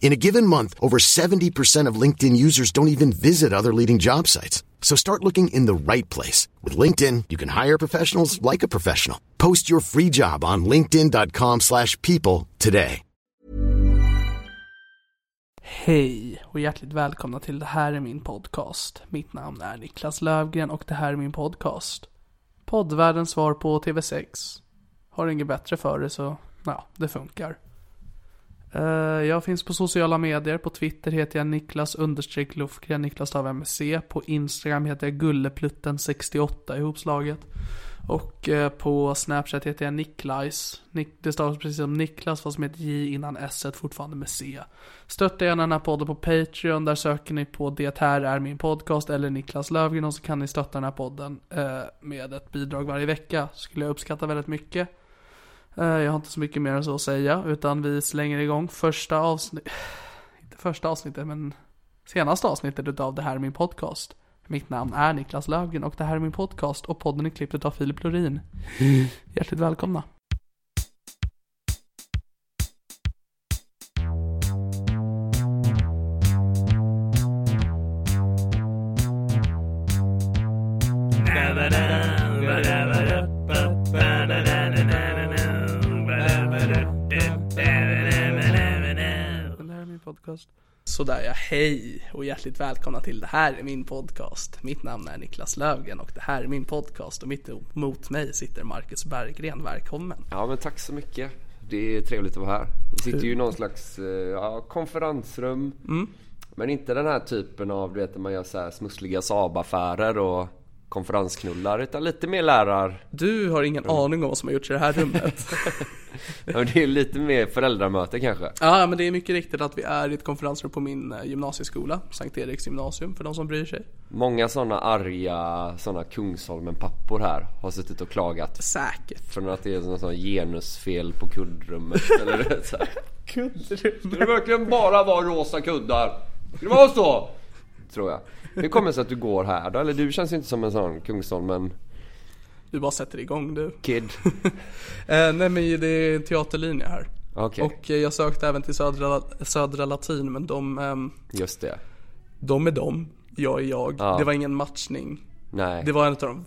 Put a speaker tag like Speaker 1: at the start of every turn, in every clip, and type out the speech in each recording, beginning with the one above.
Speaker 1: In a given month, over 70% of LinkedIn users don't even visit other leading job sites. So start looking in the right place. With LinkedIn, you can hire professionals like a professional. Post your free job on linkedin.com slash people today.
Speaker 2: Hej och hjärtligt välkomna till Det här är min podcast. Mitt namn är Niklas Lövgren och det här är min podcast. Poddvärldens svar på TV6. Har inget bättre för det så, ja, det funkar. Eh, jag finns på sociala medier. På Twitter heter jag Niklas understreck Lufgren, Niklas av MC. På Instagram heter jag Gulleplutten68 ihopslaget. Och eh, på Snapchat heter jag Niklajs. Nick, det stavas precis som Niklas fast med ett J innan S fortfarande med C. Stötta gärna den här podden på Patreon. Där söker ni på Det här är min podcast eller Niklas Löfgren och så kan ni stötta den här podden eh, med ett bidrag varje vecka. Skulle jag uppskatta väldigt mycket. Eh, Jag har inte så mycket mer än så att säga utan vi slänger igång första avsnitt Inte första avsnittet men senaste avsnittet utav Det här är min podcast. Mitt namn är Niklas Löfgren och det här är min podcast och podden är klippt utav Filip Lorin. Hjärtligt välkomna. Det här är min podcast. Sådär ja, hej och hjärtligt välkomna till Det här är min podcast. Mitt namn är Niklas Löfgren och det här är min podcast och mitt emot mig sitter Marcus Berggren, välkommen.
Speaker 3: Ja, men tack så mycket. Det är trevligt att vara här. Vi sitter ju i någon slags eh, ja, konferensrum. Men inte den här typen av, du vet, när man gör så här smussliga Saab-affärer och konferensknullar. Utan lite mer lärar...
Speaker 2: Du har ingen aning om vad som har gjorts i det här rummet.
Speaker 3: Ja, men Det är lite mer föräldramöte kanske.
Speaker 2: Ja, men det är mycket riktigt att vi är i ett konferensrum på min eh, gymnasieskola, Sankt Eriks gymnasium, för de som bryr sig.
Speaker 3: Många sådana arga såna Kungsholmen-pappor här har suttit och klagat.
Speaker 2: Säkert.
Speaker 3: Från att det är någon sån genusfel på kuddrummet. Eller du vet, så här.
Speaker 2: Kuddrum.
Speaker 3: Ska det verkligen bara vara rosa kuddar? Ska det vara så? Tror jag. Hur kommer det sig att du går här då? Eller du känns ju inte som en sån Kungsholmen-kid.
Speaker 2: Du bara sätter igång du. Eh, nej, men det är en teaterlinje här.
Speaker 3: Okej,
Speaker 2: Och eh, jag sökte även till Södra, södra Latin, men de, ehm,
Speaker 3: just det.
Speaker 2: de är de, jag är jag.
Speaker 3: Ja.
Speaker 2: Det var ingen matchning.
Speaker 3: Nej.
Speaker 2: Det var en av de,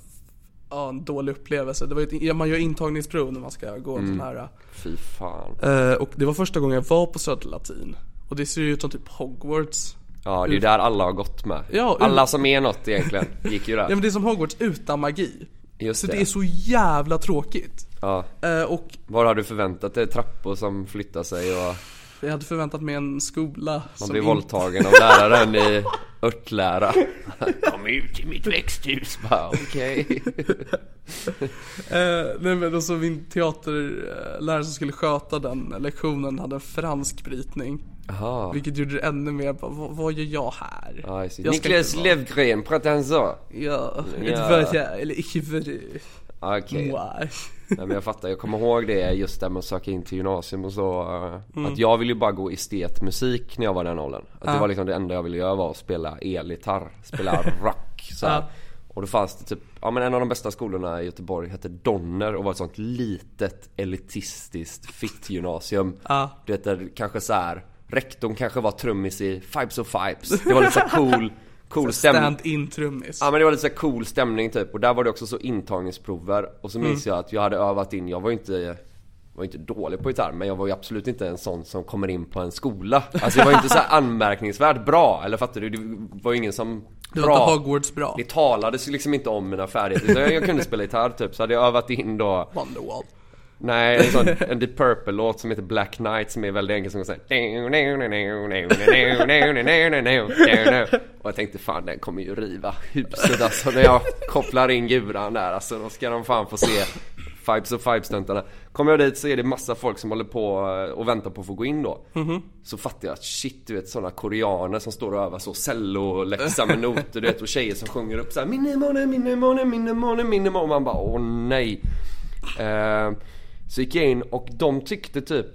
Speaker 2: ja, en dålig upplevelse. Det var ju ett, ja, man gör intagningsprov när man ska gå en sån
Speaker 3: Mm.
Speaker 2: här. eh,
Speaker 3: Fy fan.
Speaker 2: Eh, och det var första gången jag var på Södra Latin. Och det ser ju ut som typ Hogwarts.
Speaker 3: Ja, det är ju där alla har gått med.
Speaker 2: Ja,
Speaker 3: alla som är något egentligen gick ju
Speaker 2: Ja men
Speaker 3: där.
Speaker 2: det är som Hogwarts utan magi.
Speaker 3: Just
Speaker 2: så det.
Speaker 3: det.
Speaker 2: är så jävla tråkigt.
Speaker 3: Ja.
Speaker 2: Eh, och
Speaker 3: Vad har du förväntat dig? Trappor som flyttar sig och
Speaker 2: jag hade förväntat mig en skola
Speaker 3: man
Speaker 2: som
Speaker 3: blir
Speaker 2: in-
Speaker 3: våldtagen av läraren i örtlära. Kom ut i mitt växthus bara, okej.
Speaker 2: Eh, nej men och så min teaterlärare som skulle sköta den lektionen hade en fransk brytning.
Speaker 3: Jaha.
Speaker 2: Vilket gjorde det ännu mer, bara, vad, vad gör jag här?
Speaker 3: Ja, just det.
Speaker 2: Jag ska
Speaker 3: Niklas
Speaker 2: inte vara-
Speaker 3: Löfgren, pratar han så?
Speaker 2: Ja,
Speaker 3: Ja.
Speaker 2: inte för att jag, eller icke för det.
Speaker 3: Okej.
Speaker 2: Wow.
Speaker 3: Nej men jag fattar, jag kommer ihåg det just där man söker in till gymnasium och så. eh, Att jag ville ju bara gå estetmusik när jag var i den åldern. Att det var liksom det enda jag ville göra var att spela elgitarr, spela rock så här. Och då fanns det typ, ja men en av de bästa skolorna i Göteborg hette Donner och var ett sånt litet elitistiskt fittgymnasium.
Speaker 2: Ja.
Speaker 3: Du vet där kanske så här. rektorn kanske var trummis i Fibes of Fibes. Det var lite så här cool, cool stämning.
Speaker 2: Stand-in trummis.
Speaker 3: Ja men det var lite så här cool stämning typ och där var det också så intagningsprover och
Speaker 2: Mm.
Speaker 3: så minns jag att jag hade övat in, jag var ju inte var ju inte dålig på gitarr men jag var ju absolut inte en sån som kommer in på en skola. Alltså jag var ju inte så här anmärkningsvärt bra, eller fattar du? Det var ju ingen som
Speaker 2: Du var inte Hogwarts bra.
Speaker 3: det talades ju liksom inte om mina färdigheter. Så jag, jag kunde spela gitarr typ, så hade jag övat in då
Speaker 2: Wonderwall.
Speaker 3: Nej, en, sån, en Deep Purple-låt som heter Black Knight som är väldigt enkel som går såhär Och jag tänkte fan den kommer ju riva huset alltså när jag kopplar in guran där alltså då ska de fan få se Fibes och Fibes-töntarna Kommer jag dit så är det massa folk som håller på eh, och väntar på att få gå in då Så fattar jag att shit du vet sådana koreaner som står och övar så celloläxa med noter du vet och tjejer som sjunger upp såhär Minnemone, minnemone, minnemone, minnemone och man bara åh nej Eh, Så gick jag in och de tyckte typ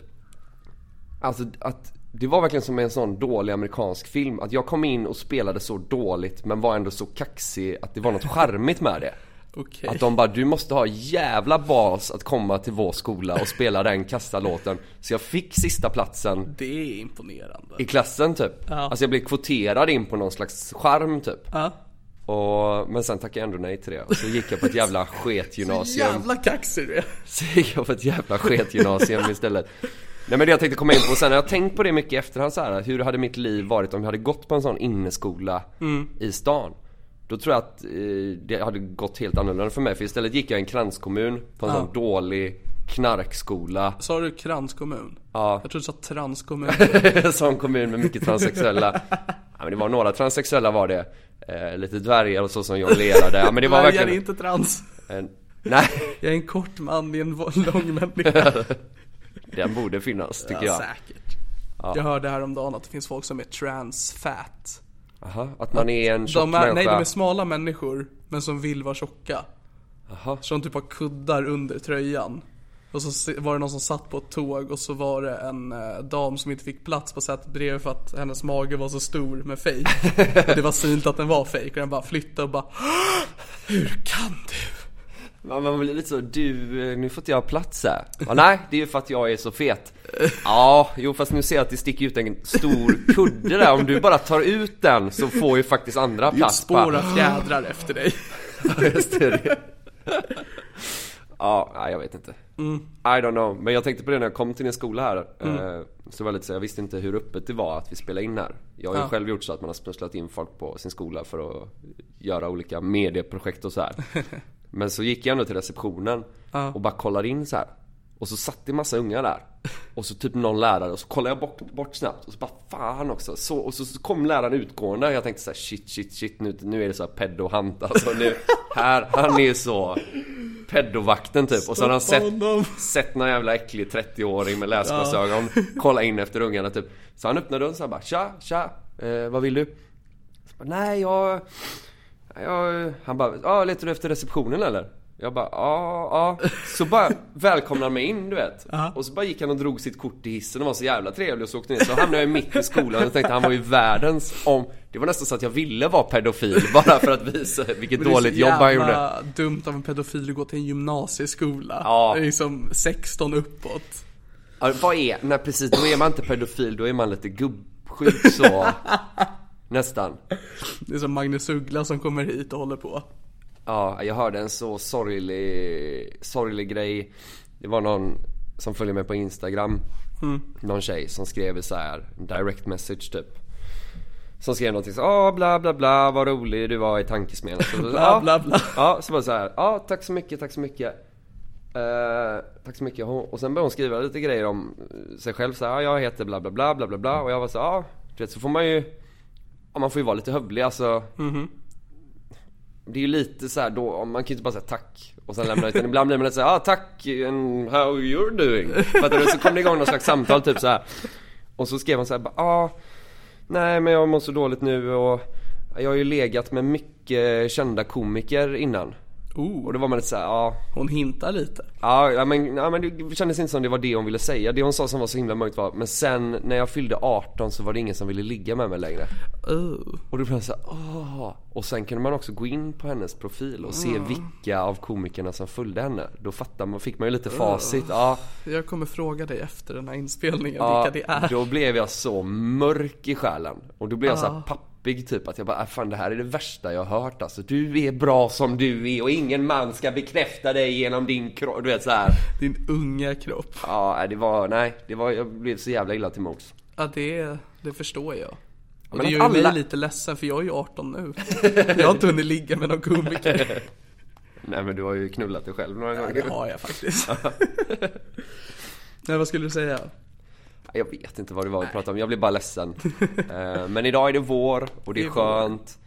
Speaker 3: Alltså att det var verkligen som en sån dålig amerikansk film. Att jag kom in och spelade så dåligt men var ändå så kaxig att det var något charmigt med det.
Speaker 2: Okej.
Speaker 3: Att de bara, du måste ha jävla bas att komma till vår skola och spela den kassa låten. Så jag fick sista platsen
Speaker 2: Det är imponerande.
Speaker 3: i klassen typ. Alltså jag blev kvoterad in på någon slags charm typ.
Speaker 2: Ja.
Speaker 3: Och, men sen tackade jag ändå nej till det. Och så gick jag på ett jävla sketgymnasium.
Speaker 2: Jävla kaxig du är.
Speaker 3: Så gick jag på ett jävla sketgymnasium istället Nej men det jag tänkte komma in på sen, jag har tänkt på det mycket i efterhand så här. Hur hade mitt liv varit om jag hade gått på en sån inneskola
Speaker 2: Mm.
Speaker 3: i stan? Då tror jag att eh, det hade gått helt annorlunda för mig För istället gick jag i en kranskommun på en sån dålig knarkskola
Speaker 2: Sa du kranskommun?
Speaker 3: Ja.
Speaker 2: Jag trodde du sa transkommun.
Speaker 3: En sån kommun med mycket transsexuella ja, men det var några transsexuella var det eh, Lite dvärgar och så som jonglerade Ja men det var
Speaker 2: Nej, jag är
Speaker 3: verkligen
Speaker 2: inte trans.
Speaker 3: en... Nej,
Speaker 2: Jag är en kort man i en vo- lång människa.
Speaker 3: den borde finnas tycker
Speaker 2: Ja,
Speaker 3: jag
Speaker 2: säkert. Jag hörde häromdagen att det finns folk som är transfat.
Speaker 3: Aha, Att man är en tjock
Speaker 2: De är,
Speaker 3: människa
Speaker 2: nej, de är smala människor, men som vill vara tjocka. Så de typ har kuddar under tröjan. Och så se- var det någon som satt på ett tåg och så var det en eh, dam som inte fick plats på sätet bredvid för att hennes mage var så stor med fejk. Och det var synligt att den var fejk och den bara flyttade och bara Hur kan du?
Speaker 3: Ja, Man blir lite så, du, eh, nu får inte jag plats här. Ja, nej, det är ju för att jag är så fet. Ja, jo fast nu ser jag att det sticker ut en stor kudde där. Om du bara tar ut den så får ju faktiskt andra plats.
Speaker 2: Spår
Speaker 3: bara.
Speaker 2: av fjädrar efter dig.
Speaker 3: Ja, just det. Ja, nej, jag vet inte. I don't know. Men jag tänkte på det när jag kom till din skola här. eh, Så var det lite så, jag visste inte hur öppet det var att vi spelade in här. Jag har ju
Speaker 2: Ja.
Speaker 3: själv gjort så att man har smusslat in folk på sin skola för att göra olika medieprojekt och så här. Men så gick jag ändå till receptionen och bara kollade in så här. Och så satt det massa unga där. Och så typ någon lärare och så kollade jag bort, bort snabbt och så bara fan också. Så, och så, så kom läraren utgående och jag tänkte så här shit shit shit nu, nu är det så här pedohant alltså. Nu, här, han är så pedovakten typ. Och så har han
Speaker 2: Stoppa
Speaker 3: sett,
Speaker 2: honom.
Speaker 3: sett någon jävla äcklig 30-åring med läsglasögon. Kolla in efter ungarna typ. Så han öppnade dörren så här bara tja tja. Eh, vad vill du? Så bara, Nej jag... jag han bara, ja letar du efter receptionen eller? Jag bara, ja, ja. Så bara välkomnade han mig in du vet. Och så bara gick han och drog sitt kort i hissen och var så jävla trevlig och så åkte ner. Så hamnade jag mitt i skolan och tänkte han var ju världens om... Det var nästan så att jag ville vara pedofil bara för att visa vilket
Speaker 2: Men det är så
Speaker 3: dåligt jobb han gjorde.
Speaker 2: jävla dumt av en pedofil att gå till en gymnasieskola.
Speaker 3: Ja.
Speaker 2: Det är Liksom 16 uppåt.
Speaker 3: Ja, vad är, nej precis, då är man inte pedofil, då är man lite gubbsjuk så. Nästan.
Speaker 2: Det är som Magnus Uggla som kommer hit och håller på.
Speaker 3: Ja, jag hörde en så sorglig, sorglig grej. Det var någon som följer mig på Instagram.
Speaker 2: Mm.
Speaker 3: Någon tjej som skrev så här direct message typ. Som skrev någonting så ah bla bla bla vad rolig du var i tankesmedjan. Så-
Speaker 2: Bla, bla, bla.
Speaker 3: Ja, så var det så här. Ja, tack så mycket, tack så mycket. Eh, tack så mycket. Hon, och sen började hon skriva lite grejer om eh, sig själv. Så här, "Ja, jag heter bla bla bla bla bla bla. Och jag var så här, ja, du vet så får man ju. Ja, man får ju vara lite hövlig alltså. Det är ju lite så här då, man kan ju inte bara säga tack och sen lämna utan ibland blir man lite såhär ah tack and how you're doing. Fattar du? Så kom det igång någon slags samtal typ så här. Och så skrev hon såhär bara ah nej men jag mår så dåligt nu och jag har ju legat med mycket kända komiker innan. Och då var man lite såhär, ja,
Speaker 2: Hon hintar lite.
Speaker 3: ja, ja, men, ja men det kändes inte som det var det hon ville säga. Det hon sa som var så himla mörkt var, men sen när jag fyllde 18 så var det ingen som ville ligga med mig längre.
Speaker 2: Oh.
Speaker 3: Och då blev jag såhär, åh. Och sen kunde man också gå in på hennes profil och se
Speaker 2: Mm.
Speaker 3: vilka av komikerna som följde henne. Då fattar man, fick man ju lite facit. Ja,
Speaker 2: Jag kommer fråga dig efter den här inspelningen
Speaker 3: ja,
Speaker 2: vilka det är.
Speaker 3: då blev jag så mörk i själen. Och då blev jag så här pappig typ att jag bara, "Äh, fan det här är det värsta jag har hört alltså. Du är bra som du är och ingen man ska bekräfta dig genom din kropp. Du vet så här.
Speaker 2: Din unga kropp.
Speaker 3: Ja, nej, det var, nej, det var, jag blev så jävla illa till mods.
Speaker 2: Ja, det, det förstår jag. Och
Speaker 3: Men
Speaker 2: det
Speaker 3: att
Speaker 2: gör ju
Speaker 3: alla-
Speaker 2: mig lite ledsen för jag är ju 18 nu. Jag har inte hunnit ligga med någon komiker.
Speaker 3: Nej men du har ju knullat dig själv några
Speaker 2: Det
Speaker 3: gånger.
Speaker 2: har jag faktiskt. Nej, vad skulle du säga?
Speaker 3: Jag vet inte vad det var vi pratade om, jag blev bara ledsen. Eh, men idag är det vår och det
Speaker 2: Det
Speaker 3: är
Speaker 2: är vår.
Speaker 3: skönt.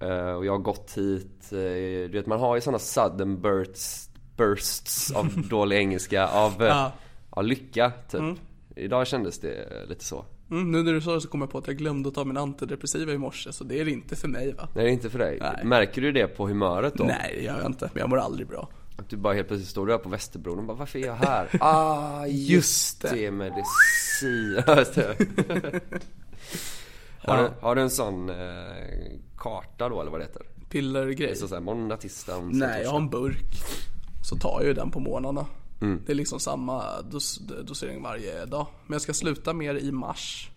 Speaker 3: Eh, Och jag har gått hit, eh, du vet man har ju sådana sudden bursts, bursts av dålig engelska, av,
Speaker 2: Ja.
Speaker 3: eh, ja. av lycka typ. Idag kändes det lite så.
Speaker 2: Mm, nu när du sa det så kom jag på att jag glömde att ta min antidepressiva i morse, så det är det inte för mig va?
Speaker 3: Nej det är inte för dig.
Speaker 2: Nej.
Speaker 3: Märker du det på humöret då?
Speaker 2: Nej, det gör jag inte. Men jag mår aldrig bra.
Speaker 3: Att du bara helt plötsligt står där på Västerbron och bara varför är jag här? ah just
Speaker 2: det.
Speaker 3: det! medicin. Ja, just det. har, du, har du en sån eh, karta då eller vad det heter?
Speaker 2: Pillergrej.
Speaker 3: Så såhär måndag, tisdag, onsdag,
Speaker 2: Nej, jag har
Speaker 3: torsdag.
Speaker 2: en burk. Så tar jag ju den på morgnarna. Det är liksom samma dos, dosering varje dag. Men jag ska sluta med det i mars.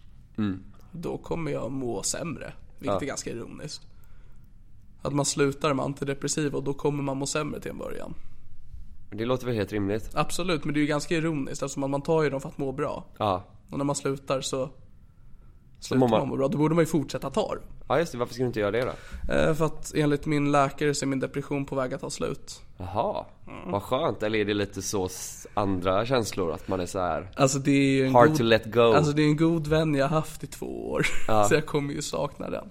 Speaker 2: Då kommer jag må sämre. Vilket är ganska ironiskt. Att man slutar med antidepressiva och då kommer man må sämre till en början.
Speaker 3: Det låter väl helt rimligt?
Speaker 2: Absolut, men det är ju ganska ironiskt eftersom att man tar ju dem för att må bra.
Speaker 3: Ja.
Speaker 2: Och när man slutar så
Speaker 3: mår
Speaker 2: slutar man...
Speaker 3: man-
Speaker 2: må bra. Då borde man ju fortsätta ta dem.
Speaker 3: Ja just det, varför ska du inte göra det då?
Speaker 2: Eh, För att enligt min läkare så är min depression på väg att ta slut.
Speaker 3: Jaha, vad skönt. Eller är det lite så s- andra känslor? Att man är så här.
Speaker 2: Alltså det är ju en
Speaker 3: Hard
Speaker 2: god...
Speaker 3: to let go.
Speaker 2: Alltså det är en god vän jag haft i två år. Så jag kommer ju sakna den.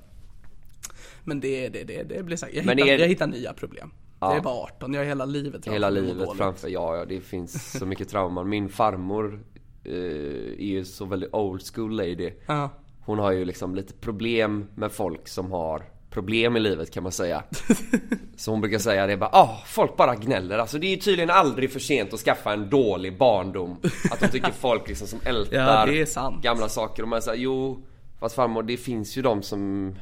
Speaker 2: Men det, det, det, det blir säkert. Jag,
Speaker 3: Men
Speaker 2: hittar,
Speaker 3: är-
Speaker 2: jag hittar nya problem. Jag är bara 18, jag har hela livet framför
Speaker 3: Hela
Speaker 2: mig och mår
Speaker 3: livet
Speaker 2: dåligt.
Speaker 3: framför, ja, ja det finns så mycket trauman. Min farmor eh, är ju så väldigt old school lady.
Speaker 2: Ja.
Speaker 3: Hon har ju liksom lite problem med folk som har problem i livet kan man säga. Så hon brukar säga det bara, ah, folk bara gnäller. Alltså det är ju tydligen aldrig för sent att skaffa en dålig barndom. Att de tycker folk liksom som ältar
Speaker 2: Ja, det är sant.
Speaker 3: gamla saker. Och man säger jo, fast farmor det finns ju de som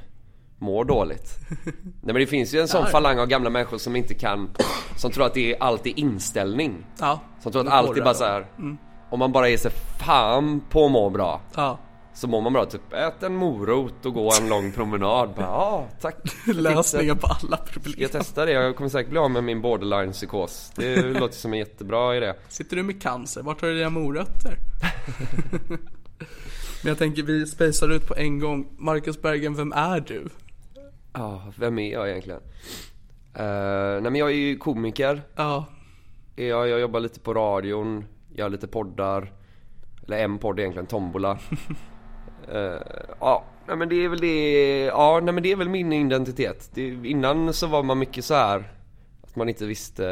Speaker 3: mår dåligt. Nej men det finns ju en sån falang av gamla människor som inte kan, som tror att det är alltid inställning.
Speaker 2: Ja.
Speaker 3: Som tror att
Speaker 2: nu
Speaker 3: allt
Speaker 2: får
Speaker 3: är
Speaker 2: du
Speaker 3: bara
Speaker 2: det. Mm.
Speaker 3: så här. om man bara ger sig fan på att må bra.
Speaker 2: Ja.
Speaker 3: Så mår man bra, typ ät en morot och gå en lång promenad. Bara, ja, tack. för
Speaker 2: Lösningen
Speaker 3: tipset.
Speaker 2: på alla problem.
Speaker 3: Jag testar det, jag kommer säkert bli av med min borderline psykos. Det låter som en jättebra idé.
Speaker 2: Sitter du med cancer? Vart har du dina morötter? Men jag tänker vi spejsar ut på en gång. Marcus Bergen, vem är du?
Speaker 3: Ja, vem är jag egentligen? Eh, nej men jag är ju komiker.
Speaker 2: Ja,
Speaker 3: Jag, jag jobbar lite på radion, gör lite poddar. Eller en podd egentligen, Tombola. Eh, ja, nej men det är väl det, ja nej men det är väl min identitet. Det, innan så var man mycket så här att man inte visste,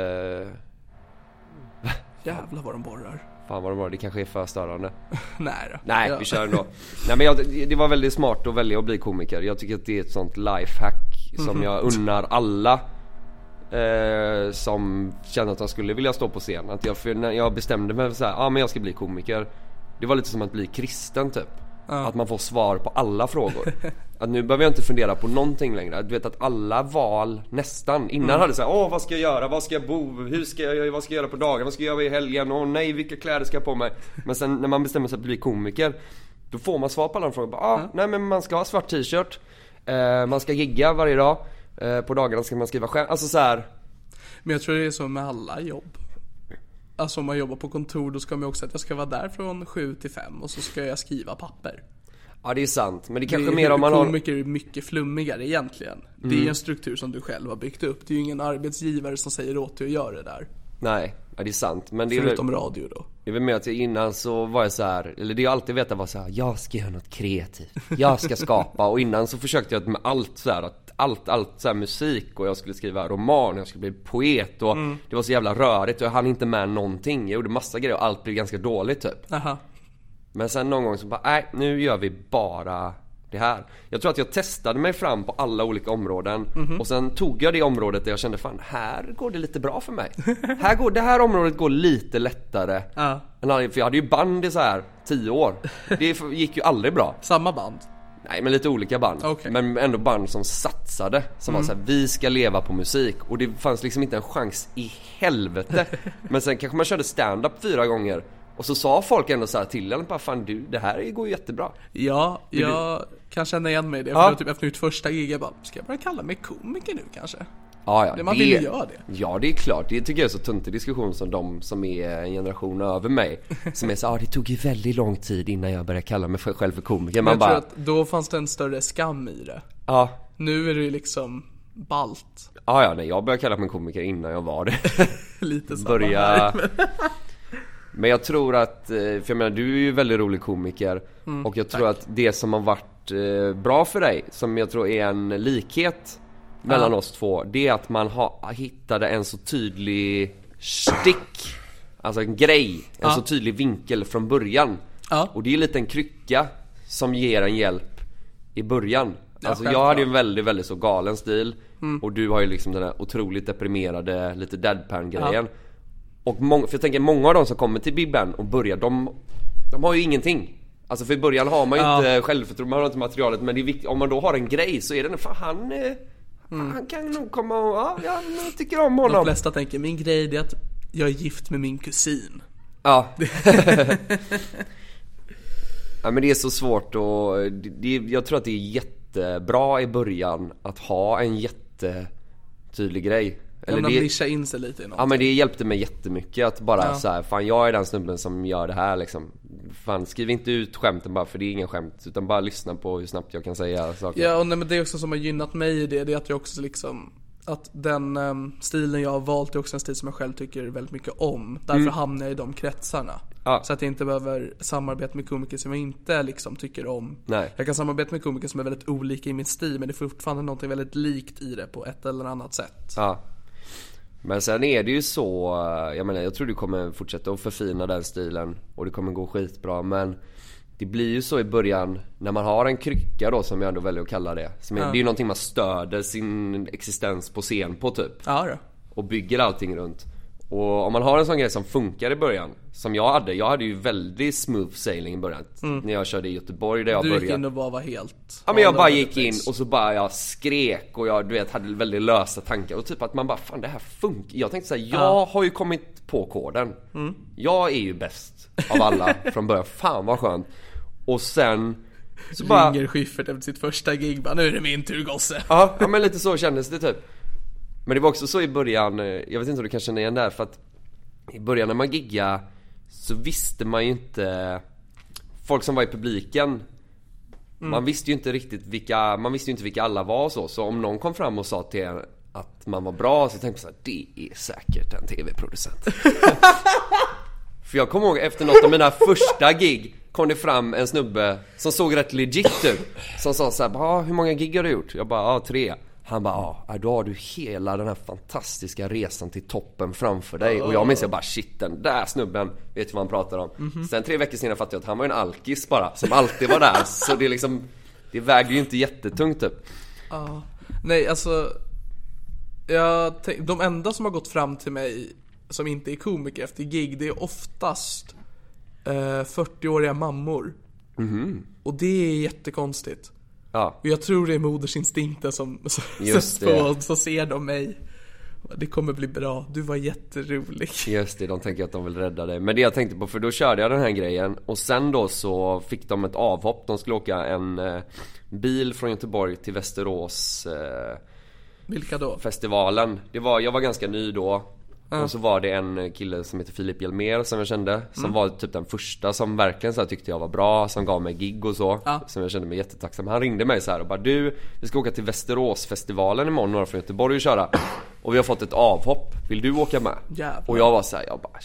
Speaker 2: jävlar vad de borrar.
Speaker 3: fan vad de var, det kanske är för störande.
Speaker 2: Nej då.
Speaker 3: Nej,
Speaker 2: Ja.
Speaker 3: vi kör ändå. Nej men jag, det var väldigt smart att välja att bli komiker. Jag tycker att det är ett sånt lifehack som jag unnar alla. Eh, som känner att de skulle vilja stå på scen. Att jag, för när jag bestämde mig för så här, ah, men jag ska bli komiker. Det var lite som att bli kristen typ. Att man får svar på alla frågor. Att nu behöver jag inte fundera på någonting längre. Du vet att alla val, nästan. Innan hade jag såhär, åh vad ska jag göra? Vad ska jag bo? Hur ska jag, vad ska jag göra på dagen? Vad ska jag göra i helgen? Åh nej, vilka kläder ska jag på mig? Men sen när man bestämmer sig för att bli komiker. Då får man svar på alla de frågorna. Bara, Ah, Nej men man ska ha svart t-shirt. Eh, man ska gigga varje dag. Eh, på dagarna ska man skriva skämt. Alltså så här.
Speaker 2: Men jag tror det är så med alla jobb. Alltså om man jobbar på kontor då ska man ju också att jag ska vara där från 7 till 5 och så ska jag skriva papper.
Speaker 3: Ja det är sant. Men det
Speaker 2: Det
Speaker 3: kanske
Speaker 2: är-
Speaker 3: mer om man har... Mm.
Speaker 2: Komiker är mycket flummigare egentligen. Det är ju en struktur som du själv har byggt upp. Det är ju ingen arbetsgivare som säger åt dig att göra det där.
Speaker 3: Nej, ja, det är sant. Men det är väl...
Speaker 2: Förutom radio då.
Speaker 3: Det är väl mer att jag innan så var jag så här, eller det jag alltid vetat var så här, jag ska göra något kreativt, jag ska skapa och innan så försökte jag med allt så här, att allt, allt så här musik och jag skulle skriva roman och jag skulle bli poet och
Speaker 2: Mm.
Speaker 3: det var så jävla rörigt och jag hann inte med någonting. Jag gjorde massa grejer och allt blev ganska dåligt typ.
Speaker 2: Aha.
Speaker 3: Men sen någon gång så bara, nej nu gör vi bara det här. Jag tror att jag testade mig fram på alla olika områden och sen tog jag det området där jag kände fan, här går det lite bra för mig. här går, det här området går lite lättare.
Speaker 2: Ja.
Speaker 3: än alla- För jag hade ju band i så här 10 år. Det f- gick ju aldrig bra.
Speaker 2: Samma band?
Speaker 3: Nej men lite olika band.
Speaker 2: Okej. Mm.
Speaker 3: Men ändå band som satsade. Som var såhär, vi ska leva på musik. Och det fanns liksom inte en chans i helvete. men sen kanske man körde stand-up fyra gånger. Och så sa folk ändå så här till en, bara fan du, det här går ju jättebra.
Speaker 2: Ja, jag kan känna igen mig i det. För
Speaker 3: Ja.
Speaker 2: det var typ efter mitt första gig, jag bara, ska jag börja kalla mig komiker nu kanske?
Speaker 3: Ja, ja,
Speaker 2: Det- man vill ju göra det.
Speaker 3: Ja, det är klart. Det tycker jag är så töntig diskussion som de som är en generation över mig. Som är så ah, det tog ju väldigt lång tid innan jag började kalla mig för- själv för komiker.
Speaker 2: Men
Speaker 3: Man
Speaker 2: jag
Speaker 3: bara,
Speaker 2: tror att då fanns det en större skam i det.
Speaker 3: ja,
Speaker 2: Nu är det ju liksom balt.
Speaker 3: Ah, ja, ja, nej, jag började kalla mig komiker innan jag var det.
Speaker 2: Lite samma här.
Speaker 3: börja... Men jag tror att, eh, för jag menar du är ju väldigt rolig komiker
Speaker 2: Mm,
Speaker 3: och jag tror att det som har varit eh, bra för dig, som jag tror är en likhet mellan oss två, det är att man har, ah, hittade en så tydlig stick, alltså en grej, en så tydlig vinkel från början.
Speaker 2: Ja.
Speaker 3: Och det är lite en krycka som ger en hjälp i början. Alltså jag
Speaker 2: självklart.
Speaker 3: hade ju en väldigt, väldigt så galen stil och du har ju liksom den här otroligt deprimerade, lite deadpan grejen. Och mång- för jag tänker många av de som kommer till Big Ben och börjar, de, de har ju ingenting. Alltså för i början har man ju
Speaker 2: Ja.
Speaker 3: inte självförtroende, man har inte materialet. Men det är vikt- om man då har en grej så är den, fan han, eh, han kan nog komma och, ja, jag tycker om
Speaker 2: Mm. De
Speaker 3: honom.
Speaker 2: flesta tänker, min grej det är att jag är gift med min kusin.
Speaker 3: Ja. ja men det är så svårt och det, det, jag tror att det är jättebra i början att ha en jättetydlig grej.
Speaker 2: Eller
Speaker 3: det,
Speaker 2: nischa in sig lite i något.
Speaker 3: ja men det hjälpte mig jättemycket att bara
Speaker 2: Ja.
Speaker 3: så här, fan jag är den snubben som gör det här liksom. Fan skriv inte ut skämten bara för det är inga skämt utan bara lyssna på hur snabbt jag kan säga saker.
Speaker 2: Ja, och nej, men det är också som har gynnat mig i det, det är att jag också liksom att den ehm, stilen jag har valt är också en stil som jag själv tycker väldigt mycket om. Därför hamnar jag i de kretsarna.
Speaker 3: Mm. Ja.
Speaker 2: Så att jag inte behöver samarbeta med komiker som jag inte liksom tycker om.
Speaker 3: Nej.
Speaker 2: Jag kan samarbeta med komiker som är väldigt olika i min stil men det är fortfarande någonting väldigt likt i det på ett eller annat sätt.
Speaker 3: Ja. Men sen är det ju så, eh, jag menar jag tror du kommer fortsätta att förfina den stilen och det kommer gå skitbra men det blir ju så i början när man har en krycka då som jag ändå väljer att kalla det. Som är, Det är ju någonting man stöder sin existens på scen på typ
Speaker 2: Ja, då.
Speaker 3: och bygger allting runt. Och om man har en sån grej som funkar i början, som jag hade. Jag hade ju väldigt smooth sailing i början. När jag körde i Göteborg där jag
Speaker 2: Mm. Du
Speaker 3: började.
Speaker 2: gick in och bara var helt...
Speaker 3: Ja men jag
Speaker 2: all
Speaker 3: bara
Speaker 2: over the
Speaker 3: gick in
Speaker 2: place.
Speaker 3: och så bara jag skrek och jag du vet hade väldigt lösa tankar och typ att man bara fan det här funkar. Jag tänkte såhär, jag har ju kommit på koden. Jag är ju bäst av alla från början. Fan vad skönt. Och sen så bara...
Speaker 2: Ringer Schyffert efter sitt första gig bara, nu är det min tur gosse.
Speaker 3: Ja, ja men lite så kändes det typ. Men det var också så i början, eh, jag vet inte om du kan känna igen det här för att i början när man giggade så visste man ju inte folk som var i publiken. Man visste ju inte riktigt vilka, man visste ju inte vilka alla var och så. Så om någon kom fram och sa till en att man var bra så tänkte man såhär, det är säkert en TV-producent. För jag kommer ihåg efter något av mina första gig kom det fram en snubbe som såg rätt legit ut. Som sa såhär, ah, hur många gig har du gjort? Jag bara, ja ah, tre. Han bara, ja ah, då har du hela den här fantastiska resan till toppen framför dig. Och jag minns jag bara, shit den där snubben vet ju vad han pratar om. Sen tre veckor senare fattade jag att han var en alkis bara, som alltid var där. Så det är liksom, det väger ju inte jättetungt typ.
Speaker 2: Nej, alltså... Jag tänk, de enda som har gått fram till mig som inte är komiker efter gig, det är oftast eh, 40-åriga mammor.
Speaker 3: Mm-hmm.
Speaker 2: Och det är jättekonstigt.
Speaker 3: Ja.
Speaker 2: Och jag tror det är modersinstinkten som, som,
Speaker 3: Just
Speaker 2: som,
Speaker 3: det.
Speaker 2: så, så ser de mig. Det kommer bli bra, du var jätterolig.
Speaker 3: Just det, de tänker att de vill rädda dig. Men det jag tänkte på, för då körde jag den här grejen och sen då så fick de ett avhopp. De skulle åka en eh, bil från Göteborg till Västerås eh,
Speaker 2: Vilka då?
Speaker 3: festivalen. Det var, jag var ganska ny då. Och så var det en kille som heter Filip Hjelmér som jag kände. Som
Speaker 2: Mm.
Speaker 3: var typ den första som verkligen så här tyckte jag var bra. Som gav mig gig och så. Som jag kände mig jättetacksam. Han ringde mig så här och bara du, vi ska åka till Västeråsfestivalen imorgon. Några från Göteborg och köra. Och vi har fått ett avhopp. Vill du åka med?
Speaker 2: Jävlar.
Speaker 3: Och jag var så här, jag bara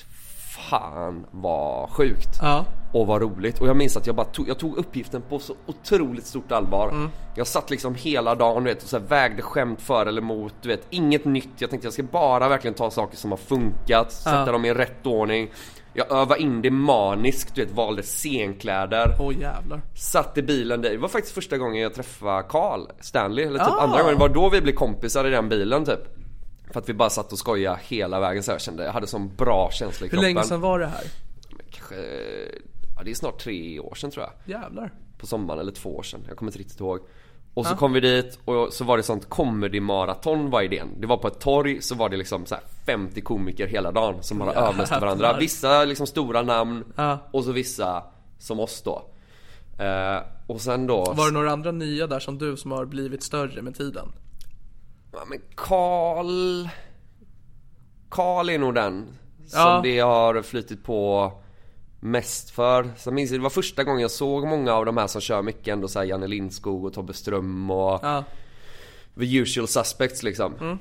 Speaker 3: fan vad sjukt.
Speaker 2: Ja.
Speaker 3: Och vad roligt. Och jag minns att jag bara tog, jag tog uppgiften på så otroligt stort allvar.
Speaker 2: Mm.
Speaker 3: Jag satt liksom hela dagen du vet, och så här vägde skämt för eller emot. Du vet, inget nytt. Jag tänkte jag ska bara verkligen ta saker som har funkat, sätta dem i rätt ordning. Jag övade in det maniskt, du vet, valde scenkläder.
Speaker 2: Åh jävlar.
Speaker 3: Satt i bilen där. Det var faktiskt första gången jag träffade Carl Stanley. Eller
Speaker 2: Ah.
Speaker 3: typ andra gången. Det var då vi blev kompisar i den bilen typ. För att vi bara satt och skojade hela vägen så jag kände, jag hade sån bra känsla
Speaker 2: Hur
Speaker 3: i kroppen.
Speaker 2: länge sedan var det här?
Speaker 3: Kanske, ja det är snart tre år sedan tror jag.
Speaker 2: Jävlar.
Speaker 3: På sommaren eller två år sedan. Jag kommer inte riktigt ihåg. Och så kom vi dit och så var det sånt comedy-maraton var idén. Det var på ett torg så var det liksom så här 50 komiker hela dagen som bara överläste varandra. Vissa liksom stora namn
Speaker 2: Ja.
Speaker 3: och så vissa som oss då. Eh, och sen då...
Speaker 2: Var det några andra nya där som du som har blivit större med tiden?
Speaker 3: Ja, men Karl... Karl är nog den som
Speaker 2: Ja.
Speaker 3: det har flyttit på mest för. Sen minns jag, det var första gången jag såg många av de här som kör mycket ändå så här Janne Lindskog och Tobbe Ström och
Speaker 2: Ja. Mm.
Speaker 3: the usual suspects liksom.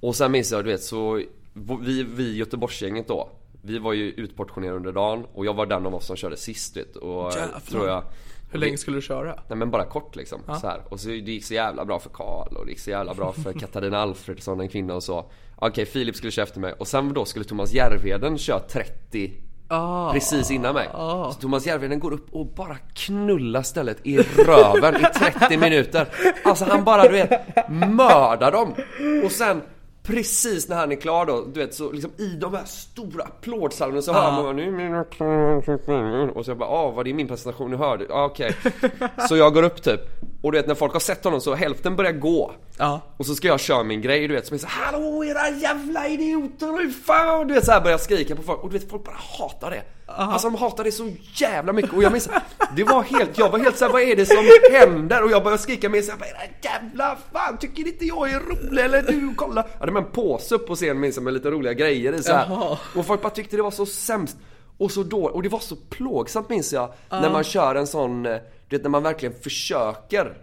Speaker 3: Och sen minns jag, du vet så vi, vi Göteborgsgänget då. Vi var ju utportionerade under dagen och jag var den av oss som körde sist du vet. Och
Speaker 2: Jävlar.
Speaker 3: tror jag
Speaker 2: Hur länge skulle du köra?
Speaker 3: Nej men bara kort liksom. Så här. Och så det gick så jävla bra för Karl och det gick så jävla bra för Katarina Alfredsson, en kvinna och så. Okej, Filip skulle köra efter mig och sen då skulle Thomas Järvheden köra 30 precis innan mig. Så Thomas Järvheden går upp och bara knullar stället i röven i 30 minuter. Alltså han bara du vet, mördar dem. Och sen Precis när han är klar då, du vet så liksom i de här stora applådsalverna så hör man bara, nu är mina klara- Och så jag bara, ah vad det är min presentation ni hörde? Ah, okej. Så jag går upp typ Och du vet när folk har sett honom så hälften börjar gå
Speaker 2: Ja.
Speaker 3: Och så ska jag köra min grej du vet som är så här, Hallå era jävla idioter, hur fan? Och Du vet så här börjar jag skrika på folk och du vet folk bara hatar det Alltså de hatar det så jävla mycket och jag minns Det var helt, jag var helt såhär vad är det som händer? Och jag började skrika med såhär era jävla fan tycker inte jag är rolig eller du kolla Jag hade med en påse upp på scen minns jag med lite roliga grejer i så här.
Speaker 2: Jaha.
Speaker 3: Och folk bara tyckte det var så sämst och så då, och det var så plågsamt minns jag när man kör en sån, eh, du vet när man verkligen försöker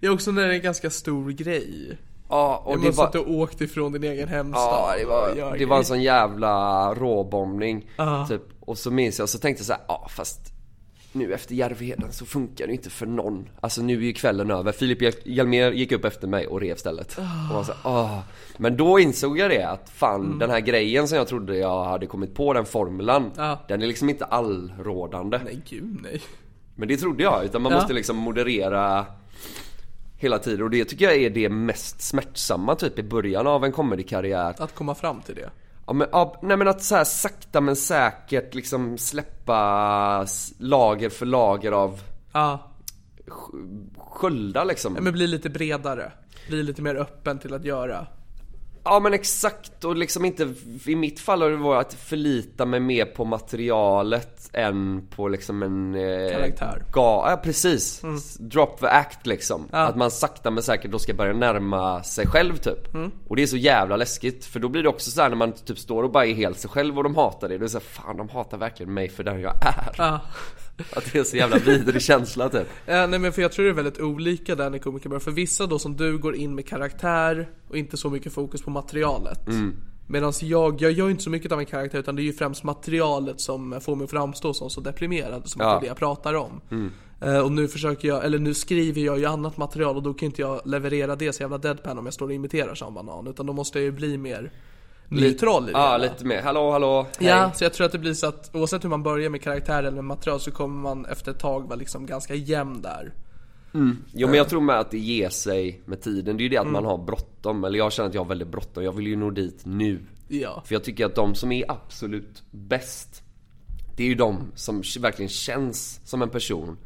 Speaker 2: Det är också när det är en ganska stor grej.
Speaker 3: Ja, och
Speaker 2: Och
Speaker 3: det
Speaker 2: man
Speaker 3: var,
Speaker 2: satt och åkt ifrån din egen hemstad.
Speaker 3: ja, det
Speaker 2: och gör
Speaker 3: var, det var
Speaker 2: grejer.
Speaker 3: en sån jävla råbombning typ. Och så minns jag, så tänkte jag så här, ja fast nu efter Järvheden så funkar det ju inte för någon Alltså nu är ju kvällen över, Filip Hjel- Hjelmér gick upp efter mig och rev stället och var så här, "Ah." Mm. Men då insåg jag det att fan den här grejen som jag trodde jag hade kommit på, den formulan Den är liksom inte allrådande
Speaker 2: Nej gud nej.
Speaker 3: Men det trodde jag, utan man
Speaker 2: Ja.
Speaker 3: måste liksom moderera hela tiden och det tycker jag är det mest smärtsamma typ i början av en comedykarriär.
Speaker 2: Att komma fram till det.
Speaker 3: Ja, men, ja, nej men att så här sakta men säkert liksom släppa s- lager för lager av
Speaker 2: Ja.
Speaker 3: sköldar liksom.
Speaker 2: Men bli lite bredare. Bli lite mer öppen till att göra.
Speaker 3: Ja men exakt och liksom inte, i mitt fall har det varit att förlita mig mer på materialet än på liksom en... Eh,
Speaker 2: Karaktär. Mm.
Speaker 3: Ga- ja precis. S- Drop the act liksom. Att man sakta men säkert då ska börja närma sig själv typ.
Speaker 2: Mm.
Speaker 3: Och det är så jävla läskigt för då blir det också så här när man typ står och bara är helt sig själv och de hatar det. Då är det så här, fan de hatar verkligen mig för den jag är.
Speaker 2: Ja.
Speaker 3: Att det är så jävla vidrig känsla typ.
Speaker 2: Eh, nej men för jag tror det är väldigt olika där när komiker börjar. För vissa då som du går in med karaktär och inte så mycket fokus på materialet. Medan jag, jag gör ju inte så mycket av en karaktär utan det är ju främst materialet som får mig att framstå som så deprimerad som att det är det jag pratar om. Eh, och nu försöker jag, eller nu skriver jag ju annat material och då kan inte jag leverera det så jävla deadpan om jag står och imiterar Sean Banan. Utan då måste jag ju bli mer neutral i det
Speaker 3: Ja
Speaker 2: hela.
Speaker 3: lite mer, hallå hallå, hej.
Speaker 2: Ja, så jag tror att det blir så att oavsett hur man börjar med karaktär eller med material så kommer man efter ett tag vara liksom ganska jämn där.
Speaker 3: Jo
Speaker 2: Eh.
Speaker 3: men jag tror med att det ger sig med tiden. Det är ju det att
Speaker 2: Mm.
Speaker 3: man har bråttom. Eller jag känner att jag har väldigt bråttom. Jag vill ju nå dit nu.
Speaker 2: Ja.
Speaker 3: För jag tycker att de som är absolut bäst. Det är ju de som k- verkligen känns som en person.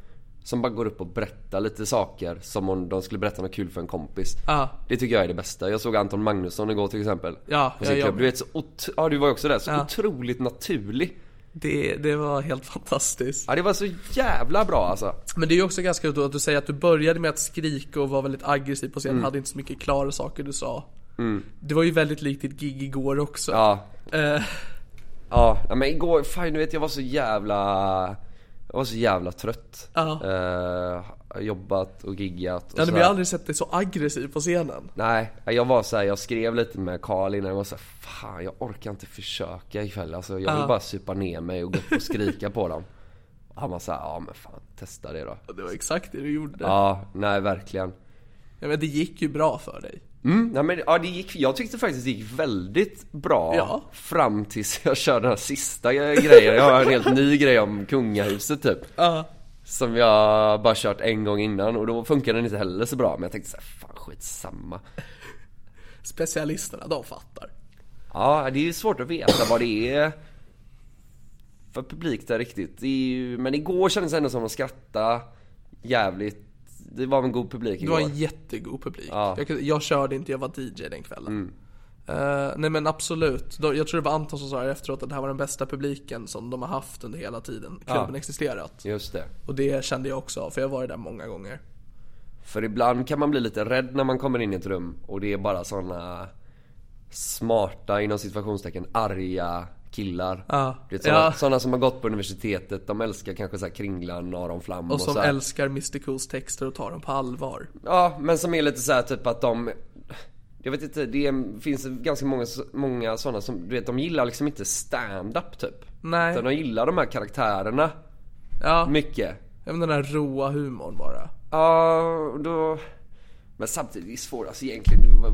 Speaker 3: Som bara går upp och berättar lite saker som om de skulle berätta något kul för en kompis.
Speaker 2: Ja.
Speaker 3: Det tycker jag är det bästa. Jag såg Anton Magnusson igår till exempel.
Speaker 2: Ja,
Speaker 3: på sin
Speaker 2: jag-
Speaker 3: klubb. Du vet så ot- ja, du var ju också där. Så
Speaker 2: Ja.
Speaker 3: otroligt naturlig.
Speaker 2: Det, det var helt fantastiskt.
Speaker 3: Ja det var så jävla bra alltså.
Speaker 2: Men det är ju också ganska kul att du säger att du började med att skrika och var väldigt aggressiv på scenen, hade inte så mycket klara saker du sa. Det var ju väldigt likt ditt gig igår också.
Speaker 3: Ja,
Speaker 2: Eh,
Speaker 3: Ja, ja, men igår, fan du vet jag var så jävla Jag var så jävla trött
Speaker 2: Ja.
Speaker 3: Eh, Jobbat och giggat
Speaker 2: ja, men
Speaker 3: och
Speaker 2: jag
Speaker 3: sådär.
Speaker 2: har aldrig sett dig så aggressiv på scenen.
Speaker 3: Nej, jag var så här, jag skrev lite med Karl innan jag var så här, Fan jag orkar inte försöka ikväll alltså, Jag vill bara supa ner mig och gå upp och skrika på dem Och Han var såhär, ja men fan testa det då
Speaker 2: Och Det var exakt det du gjorde.
Speaker 3: Ja, nej verkligen
Speaker 2: Ja, men det gick ju bra för dig.
Speaker 3: Mm, nej, men, ja, det gick, jag tyckte faktiskt det gick väldigt bra
Speaker 2: Ja.
Speaker 3: fram tills jag körde den här sista grejen. Jag har en helt ny grej om kungahuset typ. Som jag bara kört en gång innan och då funkade den inte heller så bra. Men jag tänkte såhär, fan skitsamma.
Speaker 2: Specialisterna, de fattar.
Speaker 3: Ja, det är ju svårt att veta vad det är för publik där riktigt. Det är ju, men igår kändes det ändå som att skratta jävligt. Det var en god publik
Speaker 2: Det
Speaker 3: igår.
Speaker 2: var en jättegod publik. Jag, kunde- jag körde inte, jag var DJ den kvällen. Eh, nej men absolut, Då- jag tror det var Anton som sa här efteråt att det här var den bästa publiken som de har haft under hela tiden klubben existerat.
Speaker 3: Just det.
Speaker 2: Och det kände jag också av, för jag var ju där många gånger.
Speaker 3: För ibland kan man bli lite rädd när man kommer in i ett rum och det är bara såna smarta, inom situationstecken arga killar.
Speaker 2: Ja.
Speaker 3: Det är såna,
Speaker 2: Ja.
Speaker 3: såna som har gått på universitetet, de älskar kanske så här kringlan, Aron Flam och,
Speaker 2: Och som
Speaker 3: så här.
Speaker 2: älskar Mr Cools texter och tar dem på allvar.
Speaker 3: Ja, men som är lite så här typ att de... Jag vet inte, det är, finns ganska många, många sådana som, du vet de gillar liksom inte stand-up typ.
Speaker 2: Nej.
Speaker 3: Utan de gillar de här karaktärerna
Speaker 2: Ja,
Speaker 3: mycket.
Speaker 2: även den här roa humorn bara.
Speaker 3: Ja, och då... Men samtidigt, det är svårt alltså egentligen.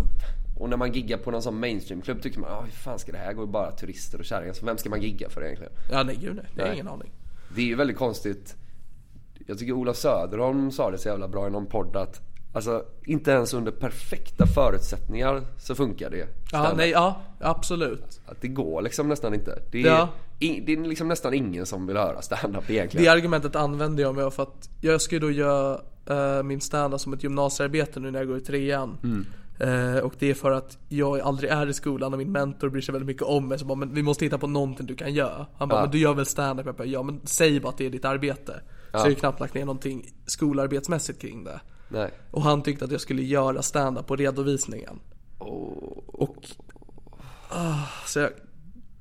Speaker 3: Och när man giggar på någon sån mainstreamklubb tycker man, "Ah, hur fan ska det här gå? Det är bara turister och kärringar. Så vem ska man gigga för egentligen?
Speaker 2: Ja nej gud nej, det har jag
Speaker 3: Nej.
Speaker 2: ingen aning.
Speaker 3: Det är ju väldigt konstigt. Jag tycker Ola Söderholm sa det så jävla bra i någon podd att alltså, inte ens under perfekta förutsättningar så funkar det.
Speaker 2: Ja,
Speaker 3: Stand-up.
Speaker 2: nej, ja, absolut.
Speaker 3: Att det går liksom nästan inte. Det är,
Speaker 2: Ja.
Speaker 3: i- det är liksom nästan ingen som vill höra stand-up egentligen.
Speaker 2: Det argumentet använder jag mig av för att jag ska ju då göra eh, min standup som ett gymnasiearbete nu när jag går i trean. Eh, och det är för att jag aldrig är i skolan och min mentor bryr sig väldigt mycket om mig. Så bara, men vi måste hitta på någonting du kan göra. Han bara, men du gör väl standup? Jag bara, ja men säg bara att det är ditt arbete. Så jag har ju knappt lagt ner någonting skolarbetsmässigt kring det.
Speaker 3: Nej.
Speaker 2: Och han tyckte att jag skulle göra standup på redovisningen. Och... Ah, så jag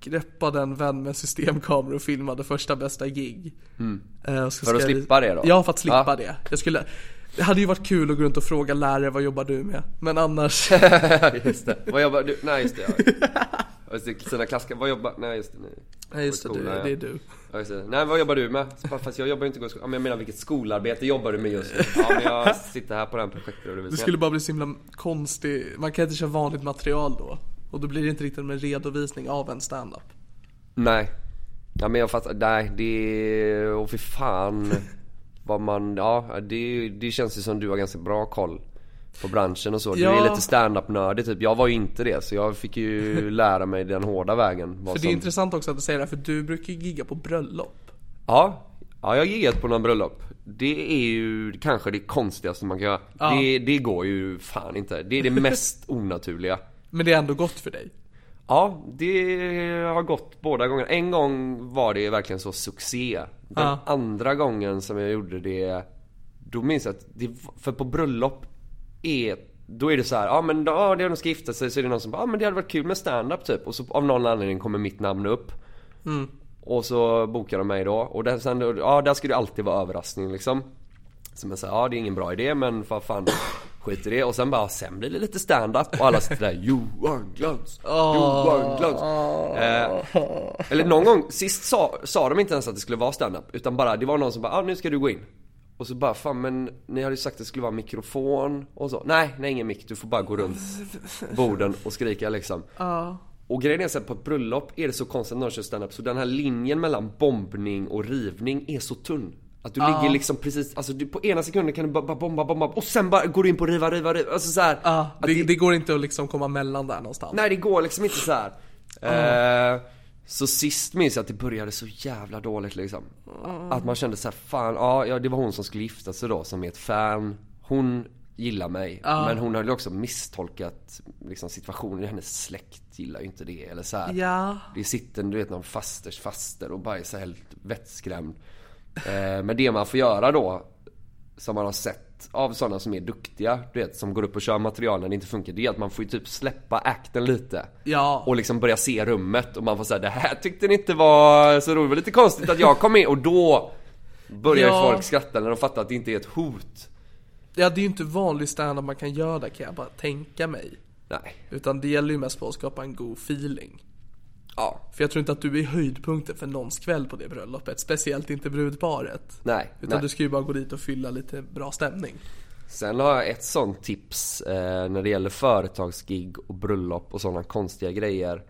Speaker 2: greppade en vän med en systemkamera och filmade första bästa gig. Eh, och så
Speaker 3: Mm. För att
Speaker 2: skrev-
Speaker 3: slippa det då?
Speaker 2: Ja, för att slippa
Speaker 3: Ja.
Speaker 2: det. Jag skulle... Det hade ju varit kul att gå runt och fråga lärare vad jobbar du med? Men annars...
Speaker 3: just det. Vad jobbar du? Nej just det. Ja. Och så Sina klassiker, vad jobbar... Nej just det. Nej.
Speaker 2: Nej just det, du,
Speaker 3: Skolan, ja.
Speaker 2: det är du.
Speaker 3: Ja, just det. Nej vad jobbar du med? Så bara, Fast jag jobbar ju inte i skolan. Ja, men jag menar vilket skolarbete jobbar du med just nu? Ja men jag sitter här på den projektredovisningen.
Speaker 2: Det skulle bara bli så himla konstig... Man kan inte köra vanligt material då. Och då blir det inte riktigt en redovisning av en standup.
Speaker 3: Nej. Ja men jag fattar, nej det... Åh fy fan. Vad man, ja det, det känns ju som du har ganska bra koll på branschen och så. Du
Speaker 2: Ja.
Speaker 3: är lite standup-nördig typ. Jag var ju inte det så jag fick ju lära mig den hårda vägen. Vad
Speaker 2: För det är intressant också att du säger det här, för du brukar ju gigga på bröllop.
Speaker 3: Ja, ja jag har giggat på några bröllop. Det är ju kanske det konstigaste man kan göra. Det, det går ju fan inte. Det är det mest onaturliga.
Speaker 2: Men det är ändå gott för dig.
Speaker 3: Ja, det har gått båda gångerna. En gång var det verkligen så succé. Den
Speaker 2: Ja.
Speaker 3: andra gången som jag gjorde det, då minns jag att det, för på bröllop är då är det så här, ja men då, ja, det är de ska gifta sig så är det någon som bara, ja men det hade varit kul med stand-up typ. Och så av någon anledning kommer mitt namn upp. Och så bokar de mig då. Och där, sen, ja, där ska det alltid vara överraskning liksom. Så man säger, ja det är ingen bra idé men vad fan skit i det. Och sen bara, sen blir det lite stand-up och alla sitter där Johan Glans, Johan Glans. Eh, eller någon gång, sist sa, sa de inte ens att det skulle vara stand-up utan bara, det var någon som bara, ah, nu ska du gå in. Och så bara, fan men ni hade ju sagt att det skulle vara mikrofon och så. Nej, nej ingen mick, du får bara gå runt borden och skrika liksom. Och grejen är så här, på ett bröllop är det så konstigt när de kör stand-up så den här linjen mellan bombning och rivning är så tunn. Att du ligger liksom precis, alltså du, på ena sekunden kan du bara, bara bomba, bomba och sen bara går du in på riva, riva, riva. Alltså så här,
Speaker 2: Ja,
Speaker 3: att
Speaker 2: det, det... går inte att liksom komma mellan där någonstans.
Speaker 3: Nej det går liksom inte så här. Eh, så sist minns jag att det började så jävla dåligt liksom. Att man kände så här, fan, ja ja, det var hon som skulle gifta sig då som är ett fan. Hon gillar mig. Men hon hade ju också misstolkat liksom, situationen. Hennes släkt gillar ju inte det. Eller så här.
Speaker 2: Ja.
Speaker 3: Det sitter du vet någon fasters faster och bara är så här helt vettskrämd. Eh, men det man får göra då som man har sett av sådana som är duktiga, du vet, som går upp och kör material när det inte funkar. Det är att man får ju typ släppa akten lite.
Speaker 2: Ja.
Speaker 3: Och liksom börja se rummet och man får säga det här tyckte ni inte var så roligt. Det var lite konstigt att jag kom in och då börjar ju
Speaker 2: Ja.
Speaker 3: folk skratta när de fattar att det inte är ett hot.
Speaker 2: Ja, det är ju inte vanlig standup man kan göra där kan jag bara tänka mig.
Speaker 3: Nej.
Speaker 2: Utan det gäller ju mest på att skapa en god feeling.
Speaker 3: Ja.
Speaker 2: För jag tror inte att du är höjdpunkten för någons kväll på det bröllopet. Speciellt inte brudparet.
Speaker 3: Nej.
Speaker 2: Utan
Speaker 3: nej.
Speaker 2: du ska ju bara gå dit och fylla lite bra stämning.
Speaker 3: Sen har jag ett sånt tips eh, när det gäller företagsgig och bröllop och sådana konstiga grejer.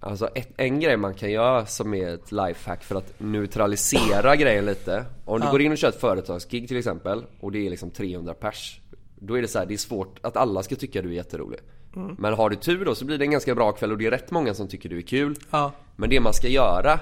Speaker 3: Alltså ett, en grej man kan göra som är ett lifehack för att neutralisera grejen lite. Om du går in och kör ett företagsgig till exempel och det är liksom 300 pers. Då är det så här, det är svårt att alla ska tycka du är jätterolig.
Speaker 2: Mm.
Speaker 3: Men har du tur då så blir det en ganska bra kväll och det är rätt många som tycker du är kul.
Speaker 2: Ja.
Speaker 3: Men det man ska göra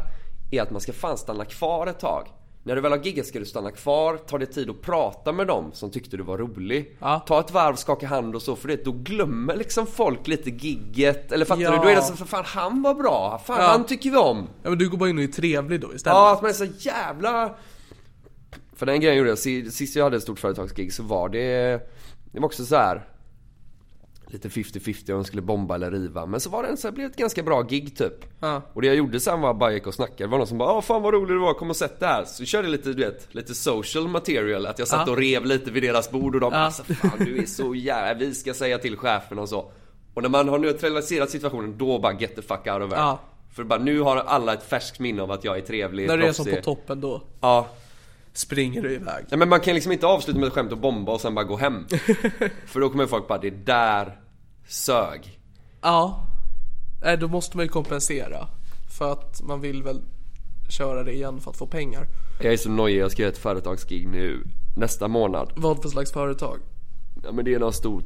Speaker 3: är att man ska fan stanna kvar ett tag. När du väl har giggat ska du stanna kvar, ta dig tid att prata med dem som tyckte du var rolig.
Speaker 2: Ja.
Speaker 3: Ta ett varv, skaka hand och så för det, då glömmer liksom folk lite gigget. Eller fattar
Speaker 2: Ja.
Speaker 3: du? Då är det så för fan han var bra, fan
Speaker 2: Ja.
Speaker 3: han tycker vi om.
Speaker 2: Ja, men du går bara in och är trevlig då istället.
Speaker 3: Ja, att man är så jävla... För den grejen gjorde jag, Si- sist jag hade ett stort företagsgig så var det... Det var också så här lite 50-50 om de skulle bomba eller riva. Men så var det en, så här, blev det ett ganska bra gig typ.
Speaker 2: Ja.
Speaker 3: Och det jag gjorde sen var att bara gick och snackade. Det var någon som bara Åh, fan vad rolig du var, kom och sätt dig här. Så körde jag lite, du vet, lite social material. Att jag satt och rev lite vid deras bord och de bara alltså, fan du är så jävla, vi ska säga till chefen och så. Och när man har neutraliserat situationen då bara get the fuck out of it.
Speaker 2: Ja.
Speaker 3: För bara nu har alla ett färskt minne av att jag är trevlig,
Speaker 2: När du är som
Speaker 3: proffsig.
Speaker 2: på toppen då
Speaker 3: Ja.
Speaker 2: springer du iväg.
Speaker 3: Nej men man kan liksom inte avsluta med ett skämt och bomba och sen bara gå hem. För då kommer folk bara, det där sög.
Speaker 2: Ja. Nej, då måste man ju kompensera. För att man vill väl köra det igen för att få pengar.
Speaker 3: Jag är så nojig, jag ska göra ett företagsgig nu nästa månad.
Speaker 2: Vad för slags företag?
Speaker 3: Ja, men det är någon stor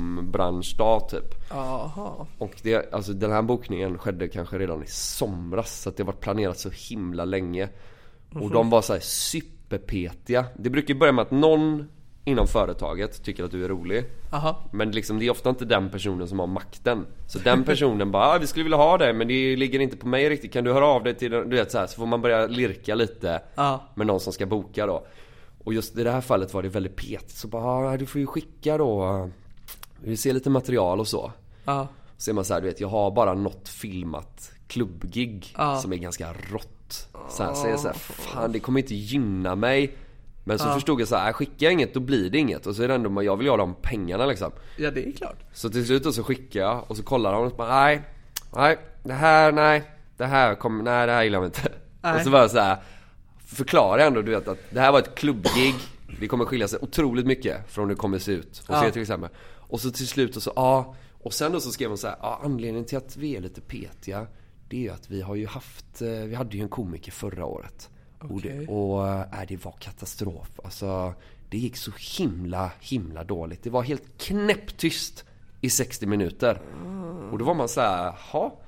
Speaker 3: telekombranschdag typ.
Speaker 2: Jaha.
Speaker 3: Och det, alltså, den här bokningen skedde kanske redan i somras. Så att det har varit planerat så himla länge.
Speaker 2: Mhm.
Speaker 3: Och de var så här superpetiga. Det brukar ju börja med att någon inom företaget tycker att du är rolig.
Speaker 2: Aha.
Speaker 3: Men liksom, det är ofta inte den personen som har makten. Så den personen bara ah, 'Vi skulle vilja ha dig men det ligger inte på mig riktigt. Kan du höra av dig till den?" Du vet så här, så får man börja lirka lite
Speaker 2: Ja.
Speaker 3: med någon som ska boka då. Och just i det här fallet var det väldigt petigt. Så bara ah, 'Du får ju skicka då. Vi ser lite material och så'
Speaker 2: Ja.
Speaker 3: Så är man så här, du vet jag har bara något filmat klubbgig som är ganska rått. Så här, så är jag så här, fan det kommer inte gynna mig. Men så förstod jag så här, äh, skickar jag inget då blir det inget. Och så är det ändå, men jag vill ju ha de pengarna liksom.
Speaker 2: Ja, det är klart.
Speaker 3: Så till slut då så skickar jag och så kollar han och så bara, nej, nej, det här, nej, det här kommer, nej det här gillar jag inte. Och så bara så här, förklarar jag ändå du vet att det här var ett klubbgig, det kommer skilja sig otroligt mycket från hur det kommer se ut. Och se till exempel. Och så till slut och så, ja, och sen då så skrev hon så här, ja anledningen till att vi är lite petiga, det är ju att vi har ju haft, eh, vi hade ju en komiker förra året. Och, det,
Speaker 2: Okej.
Speaker 3: och äh, det var katastrof. Alltså, det gick så himla, himla dåligt. Det var helt knäpptyst i 60 minuter.
Speaker 2: Ah.
Speaker 3: Och då var man så här, ha?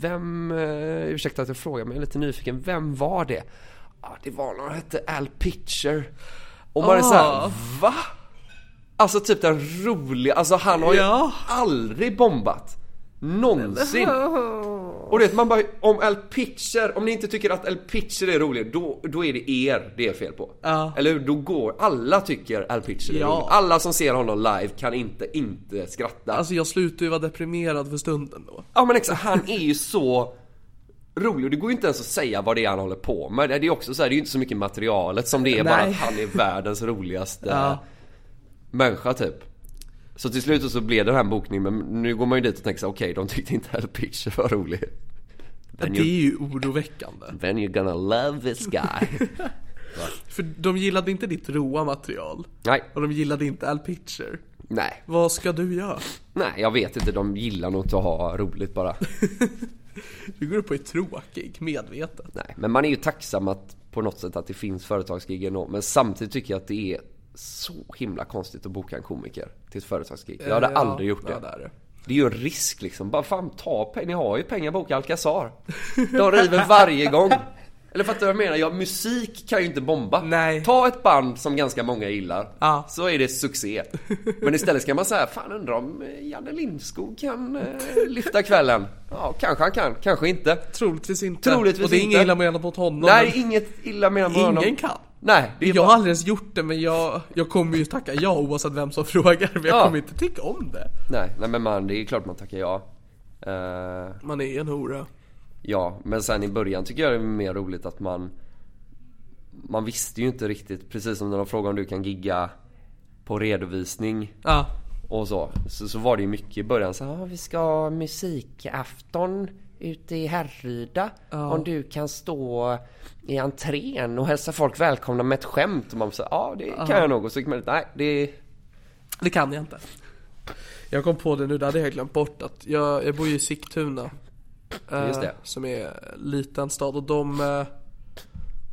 Speaker 3: Vem, eh, ursäkta att jag frågar men jag är lite nyfiken, vem var det? Ah, det var någon som hette Al Pitcher. Och man är så här,
Speaker 2: Ah.
Speaker 3: va? Alltså typ den roliga, alltså han har ju
Speaker 2: Ja.
Speaker 3: aldrig bombat. Någonsin. Och du vet man bara, om El Pitcher, om ni inte tycker att El Pitcher är rolig, då, då är det er det är fel på.
Speaker 2: Ja.
Speaker 3: Eller hur? Då går, alla tycker El Pitcher är
Speaker 2: Ja.
Speaker 3: rolig. Alla som ser honom live kan inte inte skratta.
Speaker 2: Alltså jag slutar ju vara deprimerad för stunden då.
Speaker 3: Ja men exakt, han är ju så rolig och det går ju inte ens att säga vad det är han håller på med. Det är ju också så här, det är ju inte så mycket materialet som det är bara
Speaker 2: Nej.
Speaker 3: att han är världens roligaste
Speaker 2: Ja.
Speaker 3: människa typ. Så till slut så blev det den här bokningen men nu går man ju dit och tänker så här, okej de tyckte inte El Pitcher var rolig. Then
Speaker 2: Det
Speaker 3: you,
Speaker 2: är ju oroväckande.
Speaker 3: then you're gonna love this guy.
Speaker 2: För de gillade inte ditt råa material.
Speaker 3: nej,
Speaker 2: Och de gillade inte Al Pitcher.
Speaker 3: nej,
Speaker 2: Vad ska du göra?
Speaker 3: nej jag vet inte. De gillar nog inte att ha roligt bara.
Speaker 2: Du går upp och är tråkig, medvetet.
Speaker 3: Nej, men man är ju tacksam att på något sätt att det finns företagsgig ändå. Men samtidigt tycker jag att det är så himla konstigt att boka en komiker till ett företagsgig. Jag hade
Speaker 2: Eh, Ja,
Speaker 3: aldrig gjort det.
Speaker 2: ja, det är det.
Speaker 3: Det är ju en risk liksom. Bara fan ta pengar. Ni har ju pengar boka Alcazar. De river varje gång. Eller fattar du vad jag menar? Ja, musik kan ju inte bomba.
Speaker 2: Nej.
Speaker 3: Ta ett band som ganska många gillar.
Speaker 2: Ja.
Speaker 3: Så är det succé. Men istället ska man säga, fan undrar om eh, Janne Lindskog kan eh, lyfta kvällen. Ja, kanske han kan, kanske inte.
Speaker 2: Troligtvis inte.
Speaker 3: Troligtvis
Speaker 2: och det är
Speaker 3: inte.
Speaker 2: inget illa menat mot honom.
Speaker 3: Nej,
Speaker 2: men
Speaker 3: inget illa menat med
Speaker 2: ingen
Speaker 3: honom.
Speaker 2: kan.
Speaker 3: Nej, det är
Speaker 2: jag har
Speaker 3: bara...
Speaker 2: aldrig ens gjort det men jag, jag kommer ju tacka ja oavsett vem som frågar. Men jag
Speaker 3: Ja.
Speaker 2: kommer inte tycka om det.
Speaker 3: Nej, nej men man, det är klart man tackar ja. Eh,
Speaker 2: Man är en hora.
Speaker 3: ja, men sen i början tycker jag det är mer roligt att man... Man visste ju inte riktigt, precis som när de frågade om du kan gigga på redovisning
Speaker 2: Ja.
Speaker 3: och så. Så, så var det ju mycket i början så här, ah, vi ska ha musikafton
Speaker 4: ute i Härryda om du kan stå i entrén och hälsa folk välkomna med ett skämt. Och man säger ja det kan jag nog. Och så kan man nej det...
Speaker 2: Det kan jag inte. Jag kom på det nu, det hade jag glömt bort att jag, jag bor ju i Sigtuna. eh,
Speaker 3: Just det.
Speaker 2: Som är en liten stad och de... eh,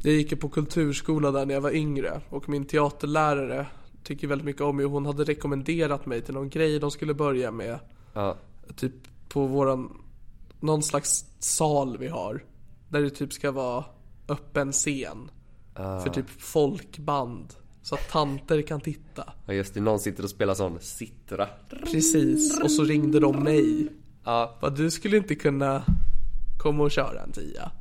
Speaker 2: Jag gick ju på kulturskola där när jag var yngre och min teaterlärare tycker väldigt mycket om mig och hon hade rekommenderat mig till någon grej de skulle börja med.
Speaker 3: Ja.
Speaker 2: Typ på våran... Någon slags sal vi har. Där det typ ska vara öppen scen.
Speaker 3: Ah.
Speaker 2: För typ folkband. Så att tanter kan titta.
Speaker 3: ja just det, någon sitter och spelar sån sittra.
Speaker 2: Precis, och så ringde de mig.
Speaker 3: Ja,
Speaker 2: Bara, du skulle inte kunna komma och köra en tia.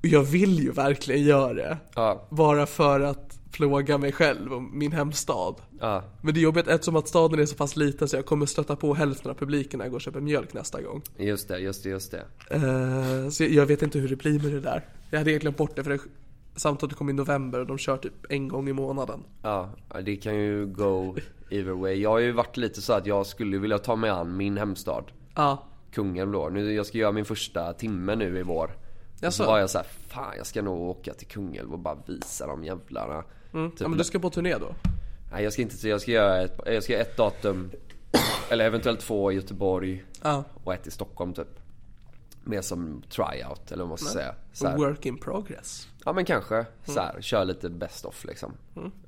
Speaker 2: Och jag vill ju verkligen göra det.
Speaker 3: ja,
Speaker 2: Bara för att plåga mig själv och min hemstad.
Speaker 3: ja.
Speaker 2: Men det är jobbigt eftersom att staden är så pass liten så jag kommer stöta på hälften av publiken när jag går och köper mjölk nästa gång.
Speaker 3: Just det, just det, just det.
Speaker 2: Eh, så jag, jag vet inte hur det blir med det där. Jag hade egentligen bort det för det, samtalet kom i november och de kör typ en gång i månaden.
Speaker 3: Ja, det kan ju go either way. Jag har ju varit lite så att jag skulle vilja ta mig an min hemstad.
Speaker 2: Ja,
Speaker 3: Kungen då. Nu, jag ska göra min första timme nu i vår. Och
Speaker 2: Jaså?
Speaker 3: så var jag så här, fan jag ska nog åka till Kungälv och bara visa de jävlarna. Typ,
Speaker 2: Mm, ja men du ska på turné då?
Speaker 3: Nej jag ska inte, jag ska göra ett, jag ska göra ett datum. eller eventuellt två i Göteborg.
Speaker 2: Ja.
Speaker 3: Och ett i Stockholm typ. Mer som tryout eller vad man ska säga. Så här.
Speaker 2: Work in progress.
Speaker 3: Ja men kanske. Så här, kör lite best off liksom.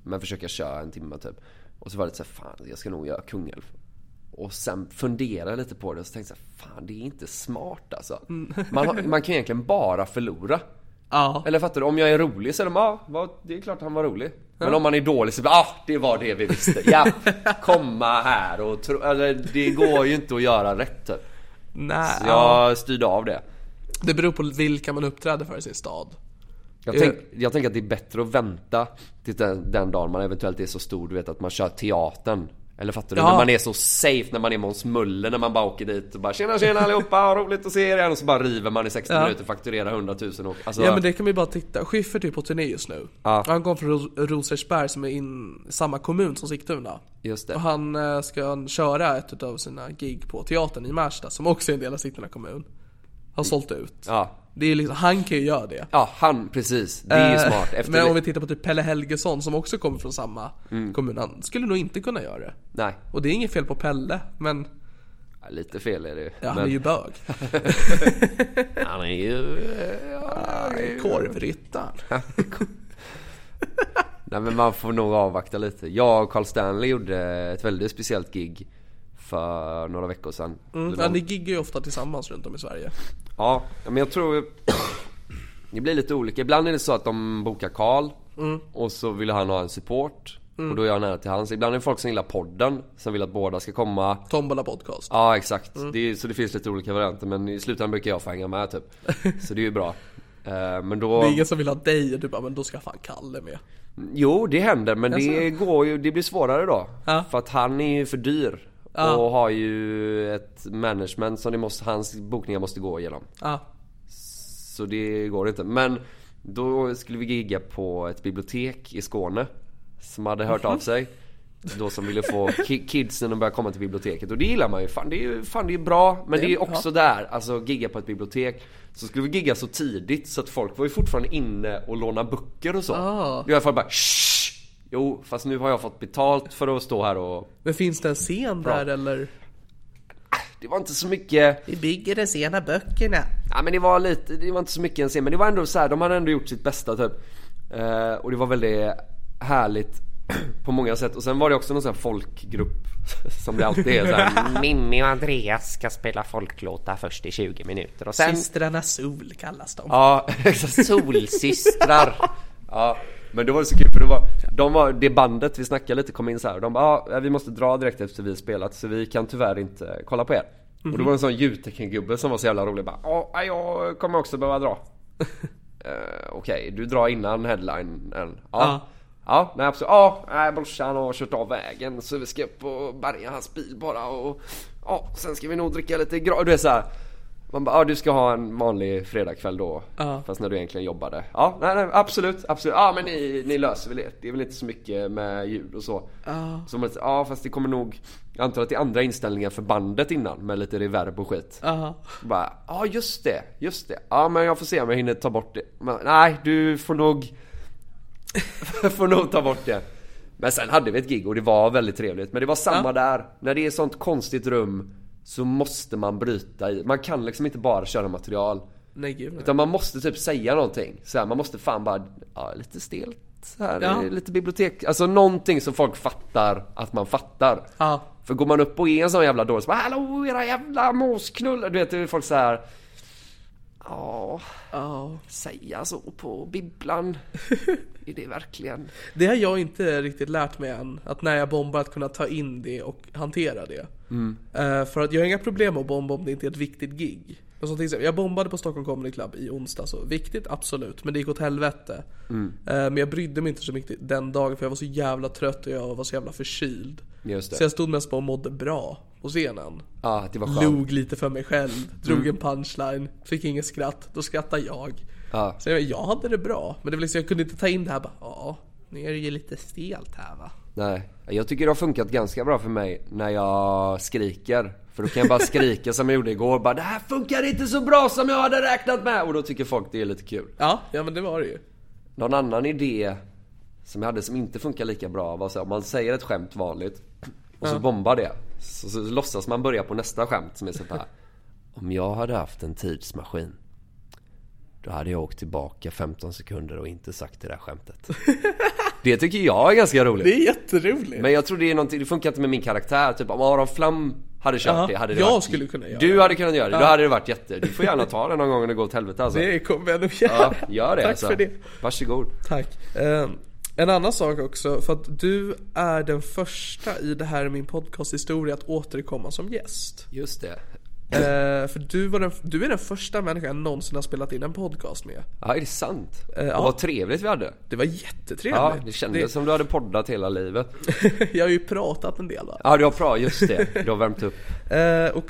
Speaker 3: Men försöka köra en timme typ. Och så var det så här, fan jag ska nog göra Kungälv. Och sen fundera jag lite på det och så tänkte jag så här, fan det är inte smart alltså. Man, har, man kan egentligen bara förlora.
Speaker 2: Ja.
Speaker 3: Eller fattar du? Om jag är rolig så är de, ja vad, det är klart han var rolig. Men om man är dålig så blir ah, det var det vi visste. Ja, komma här och tro, eller, det går ju inte att göra rätt typ.
Speaker 2: Nej.
Speaker 3: Så jag styrde av det.
Speaker 2: Det beror på vilka man uppträder för i sin stad.
Speaker 3: Jag,
Speaker 2: Eh.
Speaker 3: tänk, jag tänker att det är bättre att vänta till den, den dagen man eventuellt är så stor, du vet att man kör teatern. Eller fattar du?
Speaker 2: Ja.
Speaker 3: När man är så safe, när man är Måns Möller, när man bara åker dit och bara tjena tjena allihopa, roligt att se er igen. Och så bara river man i 60 minuter, fakturerar 100 000 och... Alltså,
Speaker 2: Ja men det kan vi bara titta. Schyffert är ju på turné just nu. Han kom från Ros- Rosersberg som är in samma kommun som Sigtuna.
Speaker 3: Just det.
Speaker 2: Och han eh, ska köra ett av sina gig på teatern i Märsta som också är en del av Sigtuna kommun. Har sålt ut.
Speaker 3: Ja.
Speaker 2: Det är liksom, han kan ju göra det.
Speaker 3: Ja, han precis. Det är ju
Speaker 2: Eh,
Speaker 3: smart. Efter
Speaker 2: Men om
Speaker 3: det- Mm.
Speaker 2: vi tittar på typ Pelle Helgesson som också kommer från samma kommun. Han skulle nog inte kunna göra det.
Speaker 3: Nej,
Speaker 2: Och det är inget fel på Pelle, men
Speaker 3: ja, lite fel är det ju.
Speaker 2: ja, han
Speaker 3: men
Speaker 2: är ju bög.
Speaker 3: han är ju... Ja, det är ju-
Speaker 2: Korvryttaren.
Speaker 3: Nej men man får nog avvakta lite. Jag och Carl Stanley gjorde ett väldigt speciellt gig för några veckor sedan. Det var-
Speaker 2: Mm, Ja, ni giggar ju ofta tillsammans runt om i Sverige.
Speaker 3: Ja, men jag tror... Det blir lite olika. Ibland är det så att de bokar Karl
Speaker 2: Mm.
Speaker 3: och så vill han ha en support. Och då är jag nära till hans. Ibland är det folk som gillar podden, som vill att båda ska komma.
Speaker 2: Tombola podcast.
Speaker 3: Ja, exakt.
Speaker 2: Mm.
Speaker 3: Det är, så det finns lite olika varianter. Men i slutändan brukar jag få hänga med typ. Så det är ju bra. Eh, Men då...
Speaker 2: Det är ingen som vill ha dig och du bara, men då ska fan Kalle med.
Speaker 3: Jo, det händer. Men det, går ju, det blir svårare då.
Speaker 2: Ja.
Speaker 3: För att han är ju för dyr. Och har ju ett management som det måste, hans bokningar måste gå igenom.
Speaker 2: Ja,
Speaker 3: Så det går inte. Men då skulle vi gigga på ett bibliotek i Skåne. Som hade hört av sig. Då som ville få ki- kidsen att börja komma till biblioteket. Och det gillar man ju. Fan det är ju, fan, det är ju bra. Men det är ju också där. Alltså gigga på ett bibliotek. Så skulle vi gigga så tidigt så att folk var ju fortfarande inne och låna böcker och så. Det var i alla fall bara Shh! Jo, fast nu har jag fått betalt för att stå här och...
Speaker 2: men finns det en scen där eller?
Speaker 3: Det var inte så mycket...
Speaker 2: Vi bygger den sena böckerna.
Speaker 3: Ja men det var lite, det var inte så mycket en scen men det var ändå så här, de hade ändå gjort sitt bästa typ. Eh, och det var väldigt härligt på många sätt. Och sen var det också någon sån här folkgrupp som det alltid är så här.
Speaker 4: Mimmi och Andreas ska spela folklåtar först i 20 minuter och sen
Speaker 2: Systrarna Sol kallas de.
Speaker 3: Ja, exakt.
Speaker 4: Solsystrar.
Speaker 3: Ja, men det var så kul för det var, de var, det bandet vi snackade lite kom in så här och de bara ah, vi måste dra direkt efter vi spelat så vi kan tyvärr inte kolla på er. Och då var det en sån ljudteknikgubbe som var så jävla rolig bara ja, jag kommer också behöva dra. Eh, Okej, du drar innan headlinen. Ja. Ja, nej absolut. Ja, nej, brorsan har kört av vägen så vi ska upp och bärga hans bil bara och ja, sen ska vi nog dricka lite gra... Du är så här. Man bara, ah, du ska ha en vanlig fredagkväll då. Fast när du egentligen jobbade. Ja, nej, nej, absolut, absolut. Ja, ah, men ni, ni löser väl det. Det är väl inte så mycket med ljud och så. Så man, ja, ah, fast det kommer nog, jag antar att det är andra inställningar för bandet innan med lite reverb och skit. Bara, ja ah, just det, just det. Ja, ah, men jag får se om jag hinner ta bort det. Men, nej, du får nog, får nog ta bort det. Men sen hade vi ett gig och det var väldigt trevligt. Men det var samma där. När det är sånt konstigt rum så måste man bryta i. Man kan liksom inte bara köra material.
Speaker 2: Nej gud nej.
Speaker 3: Utan man måste typ säga någonting. Så här, man måste fan bara, ja lite stelt här,
Speaker 2: Ja.
Speaker 3: lite bibliotek. Alltså någonting som folk fattar att man fattar.
Speaker 2: Ja.
Speaker 3: För går man upp och är en sån jävla dåre så bara, hallå era jävla mosknullar. Du vet, det är folk så här. Ja,
Speaker 2: Ja.
Speaker 3: säga så på bibblan. Är det verkligen?
Speaker 2: Det har jag inte riktigt lärt mig än. Att när jag bombar att kunna ta in det och hantera det.
Speaker 3: Mm.
Speaker 2: Eh, för att jag har inga problem med att bomba om det inte är ett viktigt gig. Men som till exempel, jag bombade på Stockholm Comedy Club i onsdag så viktigt absolut. Men det gick åt helvete.
Speaker 3: Mm.
Speaker 2: Eh, men jag brydde mig inte så mycket den dagen för jag var så jävla trött och jag var så jävla förkyld.
Speaker 3: Just det.
Speaker 2: Så jag stod mest bara och mådde bra på scenen.
Speaker 3: Ja, det var skönt. Mm.
Speaker 2: Log lite för mig själv, drog en punchline, fick inget skratt, då skrattade jag.
Speaker 3: Ja.
Speaker 2: Så jag, jag hade det bra, men det var liksom, jag kunde inte ta in det här bara, ja, nu är det ju lite stelt här va.
Speaker 3: Nej, jag tycker det har funkat ganska bra för mig när jag skriker. För då kan jag bara skrika som jag gjorde igår. Bara, det här funkar inte så bra som jag hade räknat med. Och då tycker folk det är lite kul.
Speaker 2: Ja, ja men det var det ju.
Speaker 3: Någon annan idé som jag hade som inte funkar lika bra var så här, om man säger ett skämt vanligt och så bombar det. Så, så låtsas man börja på nästa skämt som är så här. Om jag hade haft en tidsmaskin. Då hade jag åkt tillbaka 15 sekunder och inte sagt det där skämtet. Det tycker jag är ganska roligt.
Speaker 2: Det är jätteroligt.
Speaker 3: Men jag tror det är någonting, det funkar inte med min karaktär. Typ om Aron Flam hade kört
Speaker 2: Ja,
Speaker 3: det hade det
Speaker 2: jag
Speaker 3: varit,
Speaker 2: skulle kunna göra
Speaker 3: Du
Speaker 2: det.
Speaker 3: hade kunnat göra det, då hade det varit jätte... Du får gärna ta det någon gång när det går åt helvete alltså.
Speaker 2: Det kommer jag nog göra.
Speaker 3: Ja, gör det
Speaker 2: Tack
Speaker 3: alltså.
Speaker 2: för det.
Speaker 3: Varsågod.
Speaker 2: Tack. Eh, en annan sak också, för att du är den första i det här i min podcasthistoria att återkomma som gäst.
Speaker 3: Just det.
Speaker 2: Eh, för du, var den, du är den första människan jag någonsin har spelat in en podcast med.
Speaker 3: Ja, är det sant?
Speaker 2: Eh, ja.
Speaker 3: Och Vad trevligt vi hade.
Speaker 2: Det var jättetrevligt.
Speaker 3: Ja, det kändes som du hade poddat hela livet.
Speaker 2: jag har ju pratat en del va?
Speaker 3: Ja, du har bra, just det. Du har värmt upp.
Speaker 2: Eh, och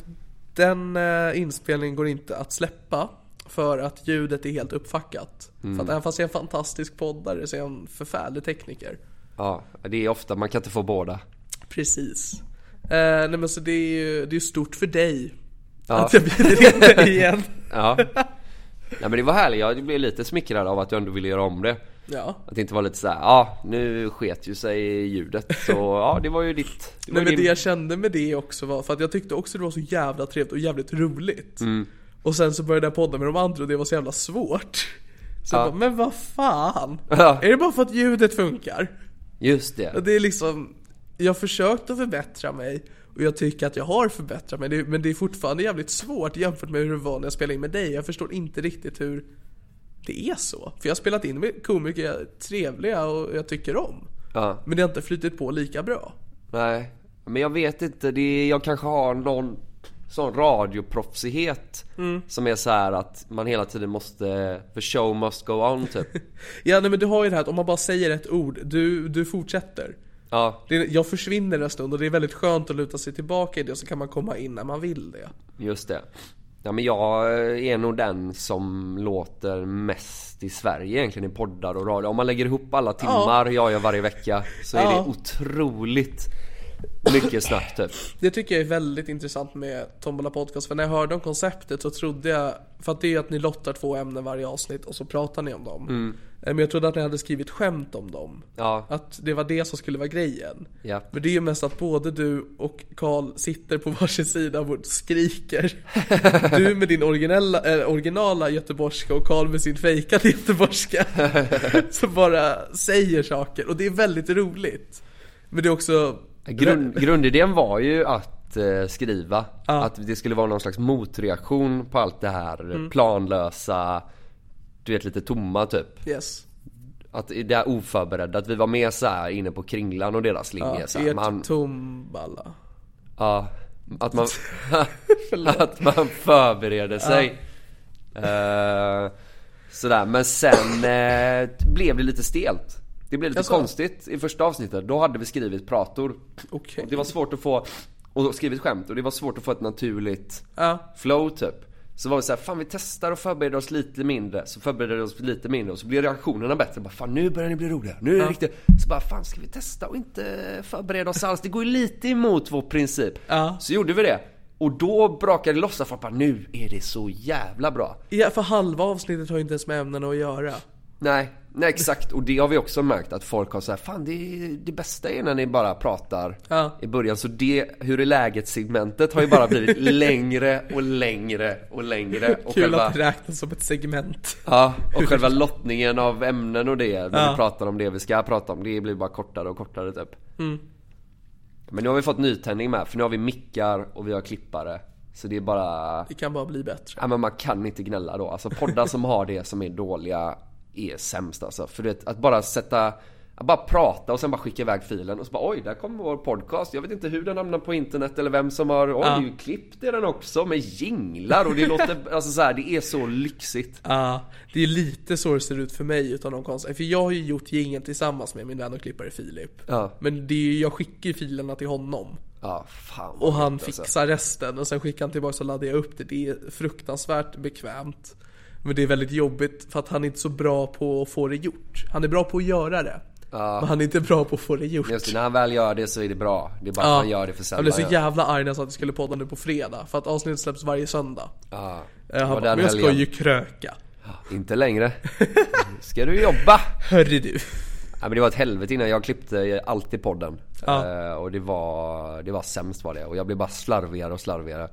Speaker 2: den eh, inspelningen går inte att släppa för att ljudet är helt uppfackat.
Speaker 3: Mm.
Speaker 2: För att även fast jag är en fantastisk poddare så är jag en förfärlig tekniker.
Speaker 3: Ja, det är ofta, man kan inte få båda.
Speaker 2: Precis. Eh, nej men så det är ju det är stort för dig
Speaker 3: Ja.
Speaker 2: att jag bjuder in dig igen.
Speaker 3: Ja. Nej men det var härligt, jag blev lite smickrad av att du ändå ville göra om det.
Speaker 2: Ja.
Speaker 3: Att det inte var lite såhär, ja nu sket ju sig ljudet så ja det var ju ditt. Det var
Speaker 2: Nej men
Speaker 3: din...
Speaker 2: det jag kände med det också var, för att jag tyckte också det var så jävla trevligt och jävligt roligt.
Speaker 3: Mm.
Speaker 2: Och sen så började jag podda med de andra och det var så jävla svårt. Så jag bara, men vad fan?
Speaker 3: Ja.
Speaker 2: Är det bara för att ljudet funkar? Och
Speaker 3: Just det.
Speaker 2: Det är liksom, jag har försökt att förbättra mig och jag tycker att jag har förbättrat mig. Det- Men det är fortfarande jävligt svårt jämfört med hur det var när jag spelade in med dig. Jag förstår inte riktigt hur det är så. För jag har spelat in med komiker jag är trevliga och jag tycker om.
Speaker 3: Ja.
Speaker 2: Men det har inte flutit på lika bra.
Speaker 3: Nej. Men jag vet inte, det är, jag kanske har någon sån radioproffsighet
Speaker 2: Mm.
Speaker 3: som är så här att man hela tiden måste, the show must go on typ.
Speaker 2: Ja nej, men du har ju det här att om man bara säger ett ord, du, du fortsätter.
Speaker 3: Ja,
Speaker 2: Det är, jag försvinner en stund och det är väldigt skönt att luta sig tillbaka i det och så kan man komma in när man vill det.
Speaker 3: just det. Ja men jag är nog den som låter mest i Sverige egentligen i poddar och radio. Om man lägger ihop alla timmar jag gör varje vecka så är
Speaker 2: Ja.
Speaker 3: det otroligt mycket snack typ.
Speaker 2: Det tycker jag är väldigt intressant med Tombola Podcast för när jag hörde om konceptet så trodde jag För att det är ju att ni lottar två ämnen varje avsnitt och så pratar ni om dem Eh, Men jag trodde att ni hade skrivit skämt om dem
Speaker 3: Mm. Ja.
Speaker 2: Att det var det som skulle vara grejen
Speaker 3: Ja.
Speaker 2: Men det är ju mest att både du och Karl sitter på varsin sida och skriker Du med din originella, äh, originala göteborgska och Karl med sin fejkade göteborgska Som bara säger saker och det är väldigt roligt Men det är också
Speaker 3: Grund, grundidén var ju att eh, skriva. Att det skulle vara någon slags motreaktion på allt det här
Speaker 2: Mm.
Speaker 3: planlösa, du vet lite tomma typ.
Speaker 2: Yes
Speaker 3: Att det här oförberedda, att vi var mer så här inne på kringlan och deras linje.
Speaker 2: Ja,
Speaker 3: så här.
Speaker 2: ert
Speaker 3: Man,
Speaker 2: Tomballa.
Speaker 3: ja, att, man, att man förbereder sig. Eh, sådär, men sen eh, blev det lite stelt. Det blev lite
Speaker 2: Jaså?
Speaker 3: konstigt i första avsnittet. Då hade vi skrivit prator.
Speaker 2: Okej.
Speaker 3: Och det var svårt att få, och skrivit skämt, och det var svårt att få ett naturligt
Speaker 2: Ja.
Speaker 3: flow typ. Så var vi så här, fan vi testar och förbereder oss lite mindre. Så förbereder vi oss lite mindre och så blir reaktionerna bättre. Bara, fan nu börjar ni bli roliga. Nu är det riktigt. Så bara, fan ska vi testa och inte förbereda oss alls? Det går ju lite emot vår princip. Så gjorde vi det. Och då brakade det loss. Folk bara, nu är det så jävla bra.
Speaker 2: Ja, för halva avsnittet har ju inte ens med ämnena att göra.
Speaker 3: Nej, nej exakt. Och det har vi också märkt att folk har så här, fan det, är- det bästa är när ni bara pratar
Speaker 2: Ja.
Speaker 3: i början. Så det, hur är läget segmentet har ju bara blivit längre och längre och längre. Och
Speaker 2: Kul att det räknas som ett segment.
Speaker 3: Ja, och själva lottningen av ämnen och det, när vi pratar om det vi ska prata om, det blir bara kortare och kortare typ.
Speaker 2: Mm.
Speaker 3: Men nu har vi fått nytändning med, för nu har vi mickar och vi har klippare. Så det är bara...
Speaker 2: Det kan bara bli bättre.
Speaker 3: Ja men man kan inte gnälla då. Alltså poddar som har det som är dåliga är sämst alltså. För du vet, att bara sätta... Att bara prata och sen bara skicka iväg filen och så bara oj, där kommer vår podcast. Jag vet inte hur den hamnar på internet eller vem som har... Oj, ja. klippt är den också med jinglar och det låter... Alltså så här, det är så lyxigt.
Speaker 2: Ja, det är lite så det ser ut för mig utan någon konstig... För jag har ju gjort gingen tillsammans med min vän och klippare Filip.
Speaker 3: Ja.
Speaker 2: Men det är, ju- jag skickar ju filerna till honom.
Speaker 3: Ja, fan vad
Speaker 2: Och han
Speaker 3: gött, alltså.
Speaker 2: fixar resten och sen skickar han tillbaka och laddar jag upp det. Det är fruktansvärt bekvämt. Men det är väldigt jobbigt för att han är inte så bra på att få det gjort. Han är bra på att göra det. Men han är inte bra på att få det gjort.
Speaker 3: Just det, när han väl gör det så är det bra. Det är bara
Speaker 2: Ja.
Speaker 3: att han gör det för
Speaker 2: jag
Speaker 3: sällan.
Speaker 2: blev så jävla arg när jag sa att vi skulle podda nu på fredag. För att avsnittet släpps varje söndag.
Speaker 3: ja.
Speaker 2: Eh, Han
Speaker 3: Och
Speaker 2: bara,
Speaker 3: den
Speaker 2: men jag ska
Speaker 3: helgen."
Speaker 2: ju kröka.
Speaker 3: Inte längre. Nu Ska du jobba?
Speaker 2: Hörru du.
Speaker 3: Ja, men det var ett helvete innan. Jag klippte alltid podden.
Speaker 2: Ja.
Speaker 3: Eh, och det var, det var sämst var det. Och jag blev bara slarvigare och slarvigare.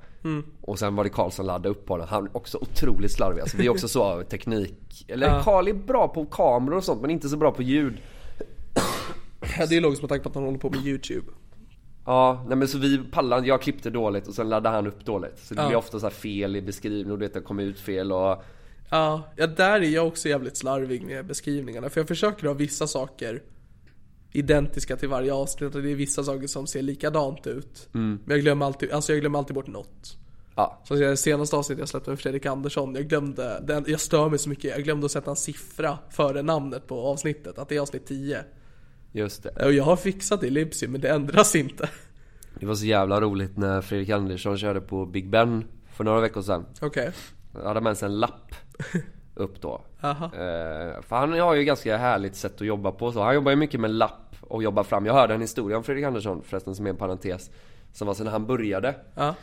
Speaker 3: Och sen var det Karl som laddade upp podden. Han är också otroligt slarvig. Alltså, vi är också så av teknik. Eller Karl är bra på kameror och sånt men inte så bra på ljud.
Speaker 2: Ja, Det är logiskt med tanke på att han håller på med YouTube.
Speaker 3: Ja, nej men så vi pallade, jag klippte dåligt och sen laddade han upp dåligt. Så det blev ofta så här fel i beskrivningen och du vet, det kom ut fel och...
Speaker 2: Ja, ja, där är jag också jävligt slarvig med beskrivningarna. För jag försöker ha vissa saker identiska till varje avsnitt och det är vissa saker som ser likadant ut. Men jag glömmer alltid, alltså jag glömmer alltid bort något.
Speaker 3: Mm. Ja,
Speaker 2: Så det senaste avsnittet jag släppte med Fredrik Andersson, jag glömde, den, jag stör mig så mycket, jag glömde att sätta en siffra före namnet på avsnittet, att det är avsnitt 10.
Speaker 3: just det.
Speaker 2: Och jag har fixat det i Lipsy men det ändras inte.
Speaker 3: Det var så jävla roligt när Fredrik Andersson körde på Big Ben för några veckor sedan.
Speaker 2: Okej.
Speaker 3: Han hade med sig en lapp upp då. Eh, för han har ju ganska härligt sätt att jobba på så. Han jobbar ju mycket med lapp och jobbar fram. Jag hörde en historia om Fredrik Andersson förresten som är en parentes. Som var så när han började.
Speaker 2: Ja.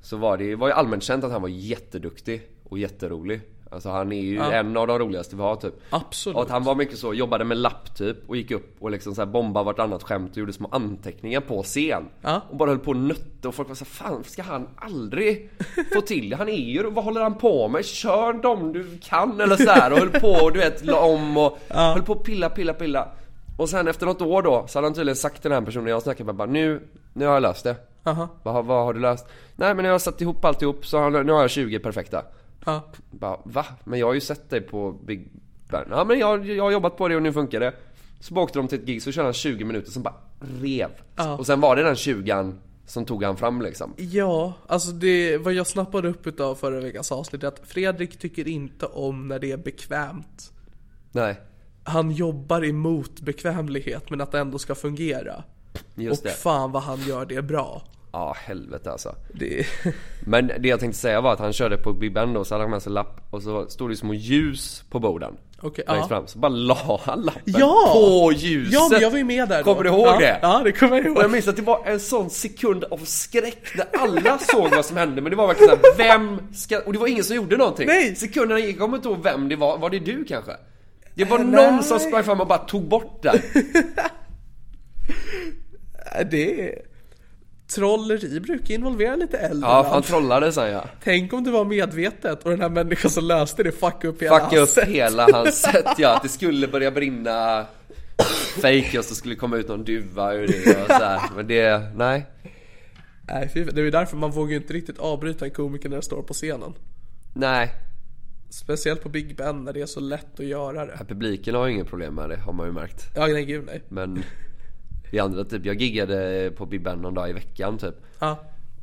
Speaker 3: Så var det var ju allmänt känt att han var jätteduktig och jätterolig. Alltså han är ju en av de roligaste vi har typ.
Speaker 2: Absolut.
Speaker 3: Och att han var mycket så, jobbade med lapp typ och gick upp och liksom så här bombade vartannat skämt och gjorde små anteckningar på scen.
Speaker 2: Ja.
Speaker 3: Och bara höll på och nötte och folk var så här, fan ska han aldrig få till det? Han är ju, vad håller han på med? Kör dem du kan eller så här och höll på och du vet la om och höll på och pilla, pilla, pilla. Och sen efter något år då så hade han tydligen sagt till den här personen jag snackade med bara nu, nu har jag löst det.
Speaker 2: Aha.
Speaker 3: Vad, har- vad har du löst? Nej men jag har satt ihop alltihop så har, nu har jag 20 perfekta.
Speaker 2: Ja.
Speaker 3: Bara, va? Men jag har ju sett dig på Big Ben. Ja men jag, jag har jobbat på det och nu funkar det. Så bara åkte de till ett gig så körde han 20 minuter som bara rev. Och sen var det den 20 som tog han fram liksom.
Speaker 2: Ja, alltså det, vad jag snappade upp utav förra veckans avsnitt är att Fredrik tycker inte om när det är bekvämt.
Speaker 3: Nej,
Speaker 2: Han jobbar emot bekvämlighet men att det ändå ska fungera.
Speaker 3: just
Speaker 2: och
Speaker 3: det.
Speaker 2: fan vad han gör det bra.
Speaker 3: Ja, helvete alltså.
Speaker 2: Det,
Speaker 3: Men det jag tänkte säga var att han körde på Big Ben då så hade han med sig en lapp och så stod det små ljus på borden.
Speaker 2: Okej,
Speaker 3: Längst
Speaker 2: ja.
Speaker 3: fram. Så bara la han lappen
Speaker 2: Ja!
Speaker 3: på ljuset.
Speaker 2: ja men jag var ju med där då.
Speaker 3: Kommer du ihåg
Speaker 2: ja,
Speaker 3: det?
Speaker 2: Ja, det kommer jag
Speaker 3: Och jag
Speaker 2: ihåg.
Speaker 3: minns att det var en sån sekund av skräck när alla såg vad som hände men det var verkligen såhär, vem ska... Och det var ingen som gjorde någonting.
Speaker 2: Nej.
Speaker 3: Sekunderna gick, jag kommer inte ihåg vem det var, var det du kanske? Det var någon
Speaker 2: Eh, nej.
Speaker 3: som sprang fram och bara tog bort den.
Speaker 2: Det är... Trolleri brukar involvera lite äldre.
Speaker 3: Ja,
Speaker 2: man.
Speaker 3: han trollade sen ja.
Speaker 2: Tänk om det var medvetet och den här människan som löste det fuckade upp hela
Speaker 3: Fucka upp
Speaker 2: asset.
Speaker 3: hela hans sätt ja, att det skulle börja brinna fake och så skulle komma ut någon duva ur det och så här. Men det, nej.
Speaker 2: Nej, fy, det är ju därför man vågar ju inte riktigt avbryta en komiker när den står på scenen.
Speaker 3: Nej.
Speaker 2: Speciellt på Big Ben när det är så lätt att göra det.
Speaker 3: Publiken har ju inga problem med det, har man ju märkt.
Speaker 2: Ja, nej gud nej.
Speaker 3: Men vi andra typ, jag giggade på Big Ben någon dag i veckan typ.
Speaker 2: Ja,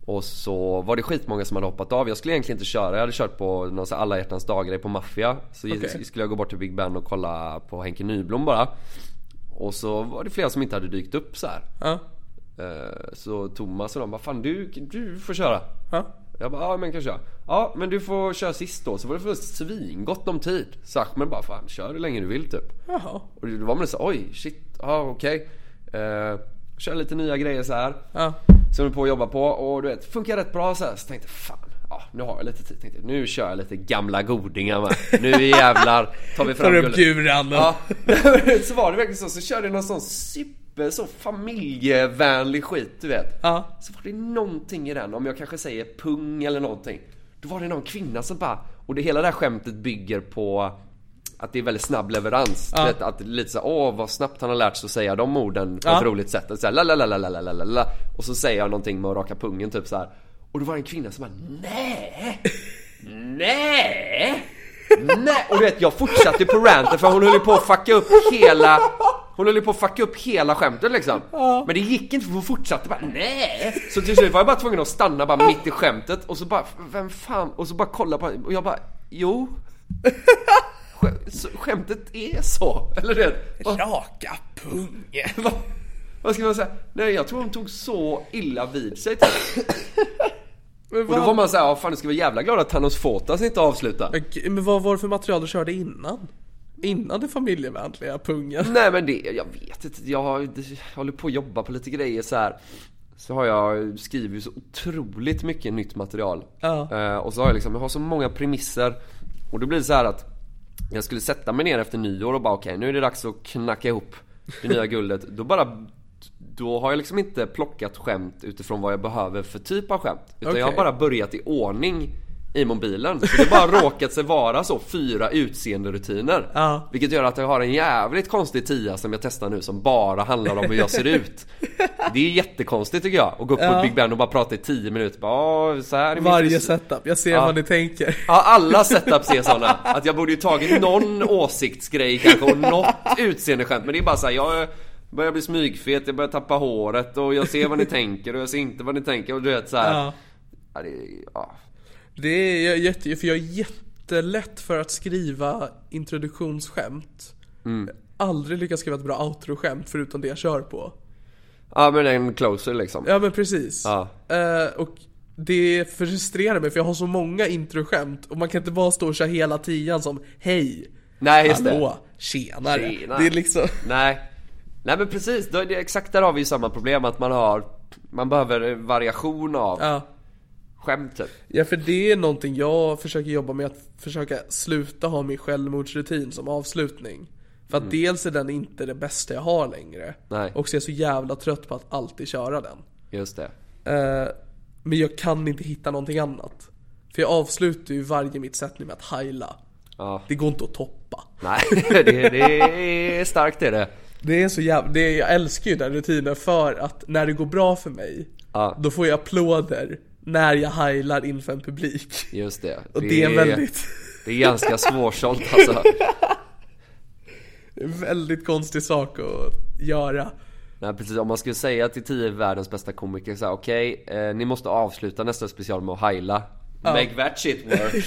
Speaker 3: Och så var det skitmånga som hade hoppat av. Jag skulle egentligen inte köra. Jag hade kört på någon så här alla hjärtans dagar på Mafia. Så
Speaker 2: Okej.
Speaker 3: skulle jag gå bort till Big Ben och kolla på Henke Nyblom bara. Och så var det flera som inte hade dykt upp så här.
Speaker 2: ja,
Speaker 3: Eh, Så Thomas och de bara, fan du, du får köra.
Speaker 2: ja.
Speaker 3: Jag bara, ja men kan köra. Ja men du får köra sist då. Så var det för svingott om tid. Så Ahmed bara, fan kör hur länge du vill typ.
Speaker 2: Jaha.
Speaker 3: Och då var man så oj shit, ja okej. Eh, kör lite nya grejer så här.
Speaker 2: Ja.
Speaker 3: Som vi på att jobba på och du vet, funkar rätt bra så här. Så tänkte jag, fan, ja nu har jag lite tid. Tänkte, jag, nu kör jag lite gamla godingar med. Nu jävlar tar vi fram
Speaker 2: Tar upp
Speaker 3: guldet.
Speaker 2: djuren.
Speaker 3: Ja, så var det verkligen så. Så körde jag någon sån super, så familjevänlig skit du vet.
Speaker 2: Ja.
Speaker 3: Så var det någonting i den, om jag kanske säger pung eller någonting. Då var det någon kvinna som bara, och det hela det här skämtet bygger på att det är väldigt snabb leverans. Du Vet, att det är lite såhär, åh vad snabbt han har lärt sig att säga de orden på
Speaker 2: Ja.
Speaker 3: ett roligt sätt. Och, så här, la, la, la, la, la, la, la, la. och så säger jag någonting med att raka pungen typ så här. Och då var det en kvinna som bara, nej Nej! Nej! Och du vet, jag fortsatte på ranten för hon höll ju på att fucka upp hela... Hon höll ju på att fucka upp hela skämtet liksom. Men det gick inte för hon fortsatte bara nej. Så till slut var jag bara tvungen att stanna bara mitt i skämtet och så bara, vem fan? Och så bara kolla på och jag bara, jo. Skä- så- Skämtet är så, eller du vet. Och-
Speaker 2: Raka pungen.
Speaker 3: vad, vad ska man säga? Nej, jag tror hon tog så illa vid sig typ. Och då var man såhär, ja fan du ska vara jävla glad att Thanos Fotas inte avslutar.
Speaker 2: Men vad var det för material du körde innan? Innan det familjevänliga pungen?
Speaker 3: Nej men det, jag vet inte. Jag, har- jag håller på att jobba på lite grejer så här. Så har jag skrivit så otroligt mycket nytt material.
Speaker 2: Ja.
Speaker 3: Eh, och så har jag liksom, jag har så många premisser. Och då blir det så här att jag skulle sätta mig ner efter nyår och bara okej nu är det dags att knacka ihop det nya guldet. Då bara, då har jag liksom inte plockat skämt utifrån vad jag behöver för typ av skämt. Utan jag har
Speaker 2: Okej.
Speaker 3: bara börjat i ordning i mobilen. Så det har bara råkat sig vara så fyra utseenderutiner.
Speaker 2: Ja.
Speaker 3: Vilket gör att jag har en jävligt konstig tia som jag testar nu som bara handlar om hur jag ser ut. Det är jättekonstigt tycker jag. Att gå upp på Big Ben och bara prata i 10 minuter. Bara, "Åh, så här är min
Speaker 2: Varje
Speaker 3: frisyr."
Speaker 2: setup, jag ser vad ni tänker.
Speaker 3: Ja, alla setups är sådana. Att jag borde ju tagit någon åsiktsgrej kanske och något utseendeskämt. Men det är bara såhär, jag börjar bli smygfet, jag börjar tappa håret och jag ser vad ni tänker och jag ser inte vad ni tänker. Och du vet såhär.
Speaker 2: Ja.
Speaker 3: Ja. det, är- ja.
Speaker 2: Det är jag är jätte, för jag är jättelätt för att skriva introduktionsskämt.
Speaker 3: Mm.
Speaker 2: Aldrig lyckats skriva ett bra outro-skämt förutom det jag kör på.
Speaker 3: ja, men en closer liksom.
Speaker 2: Ja men precis.
Speaker 3: Ja.
Speaker 2: Eh, och det frustrerar mig för jag har så många introskämt och man kan inte bara stå och köra hela tian som Hej!
Speaker 3: Nej, just det.
Speaker 2: Hallå! Tjenare!
Speaker 3: Tjena.
Speaker 2: Det är liksom...
Speaker 3: Nej. Nej men precis, då är det, exakt där har vi ju samma problem att man har Man behöver variation av
Speaker 2: Ja.
Speaker 3: skämt typ.
Speaker 2: Ja för det är någonting jag försöker jobba med, att försöka sluta ha min självmordsrutin som avslutning. För att dels är den inte det bästa jag har längre.
Speaker 3: Mm. Nej.
Speaker 2: Och så är jag så jävla trött på att alltid köra den.
Speaker 3: Just det.
Speaker 2: Eh, men jag kan inte hitta någonting annat. För jag avslutar ju varje mitt sätt nu med att heila.
Speaker 3: Ja.
Speaker 2: Det går inte att toppa.
Speaker 3: Nej, det, det är starkt är det.
Speaker 2: Det är så jävla, det är, jag älskar ju den rutinen för att när det går bra för mig,
Speaker 3: Ja.
Speaker 2: då får jag applåder när jag heilar inför en publik.
Speaker 3: Just det.
Speaker 2: Och det är en väldigt,
Speaker 3: Det är ganska svårsålt alltså.
Speaker 2: en väldigt konstig sak att göra.
Speaker 3: Nej precis, om man skulle säga till 10 världens bästa komiker så här, okej, eh, ni måste avsluta nästa special med att heila. Make that shit work.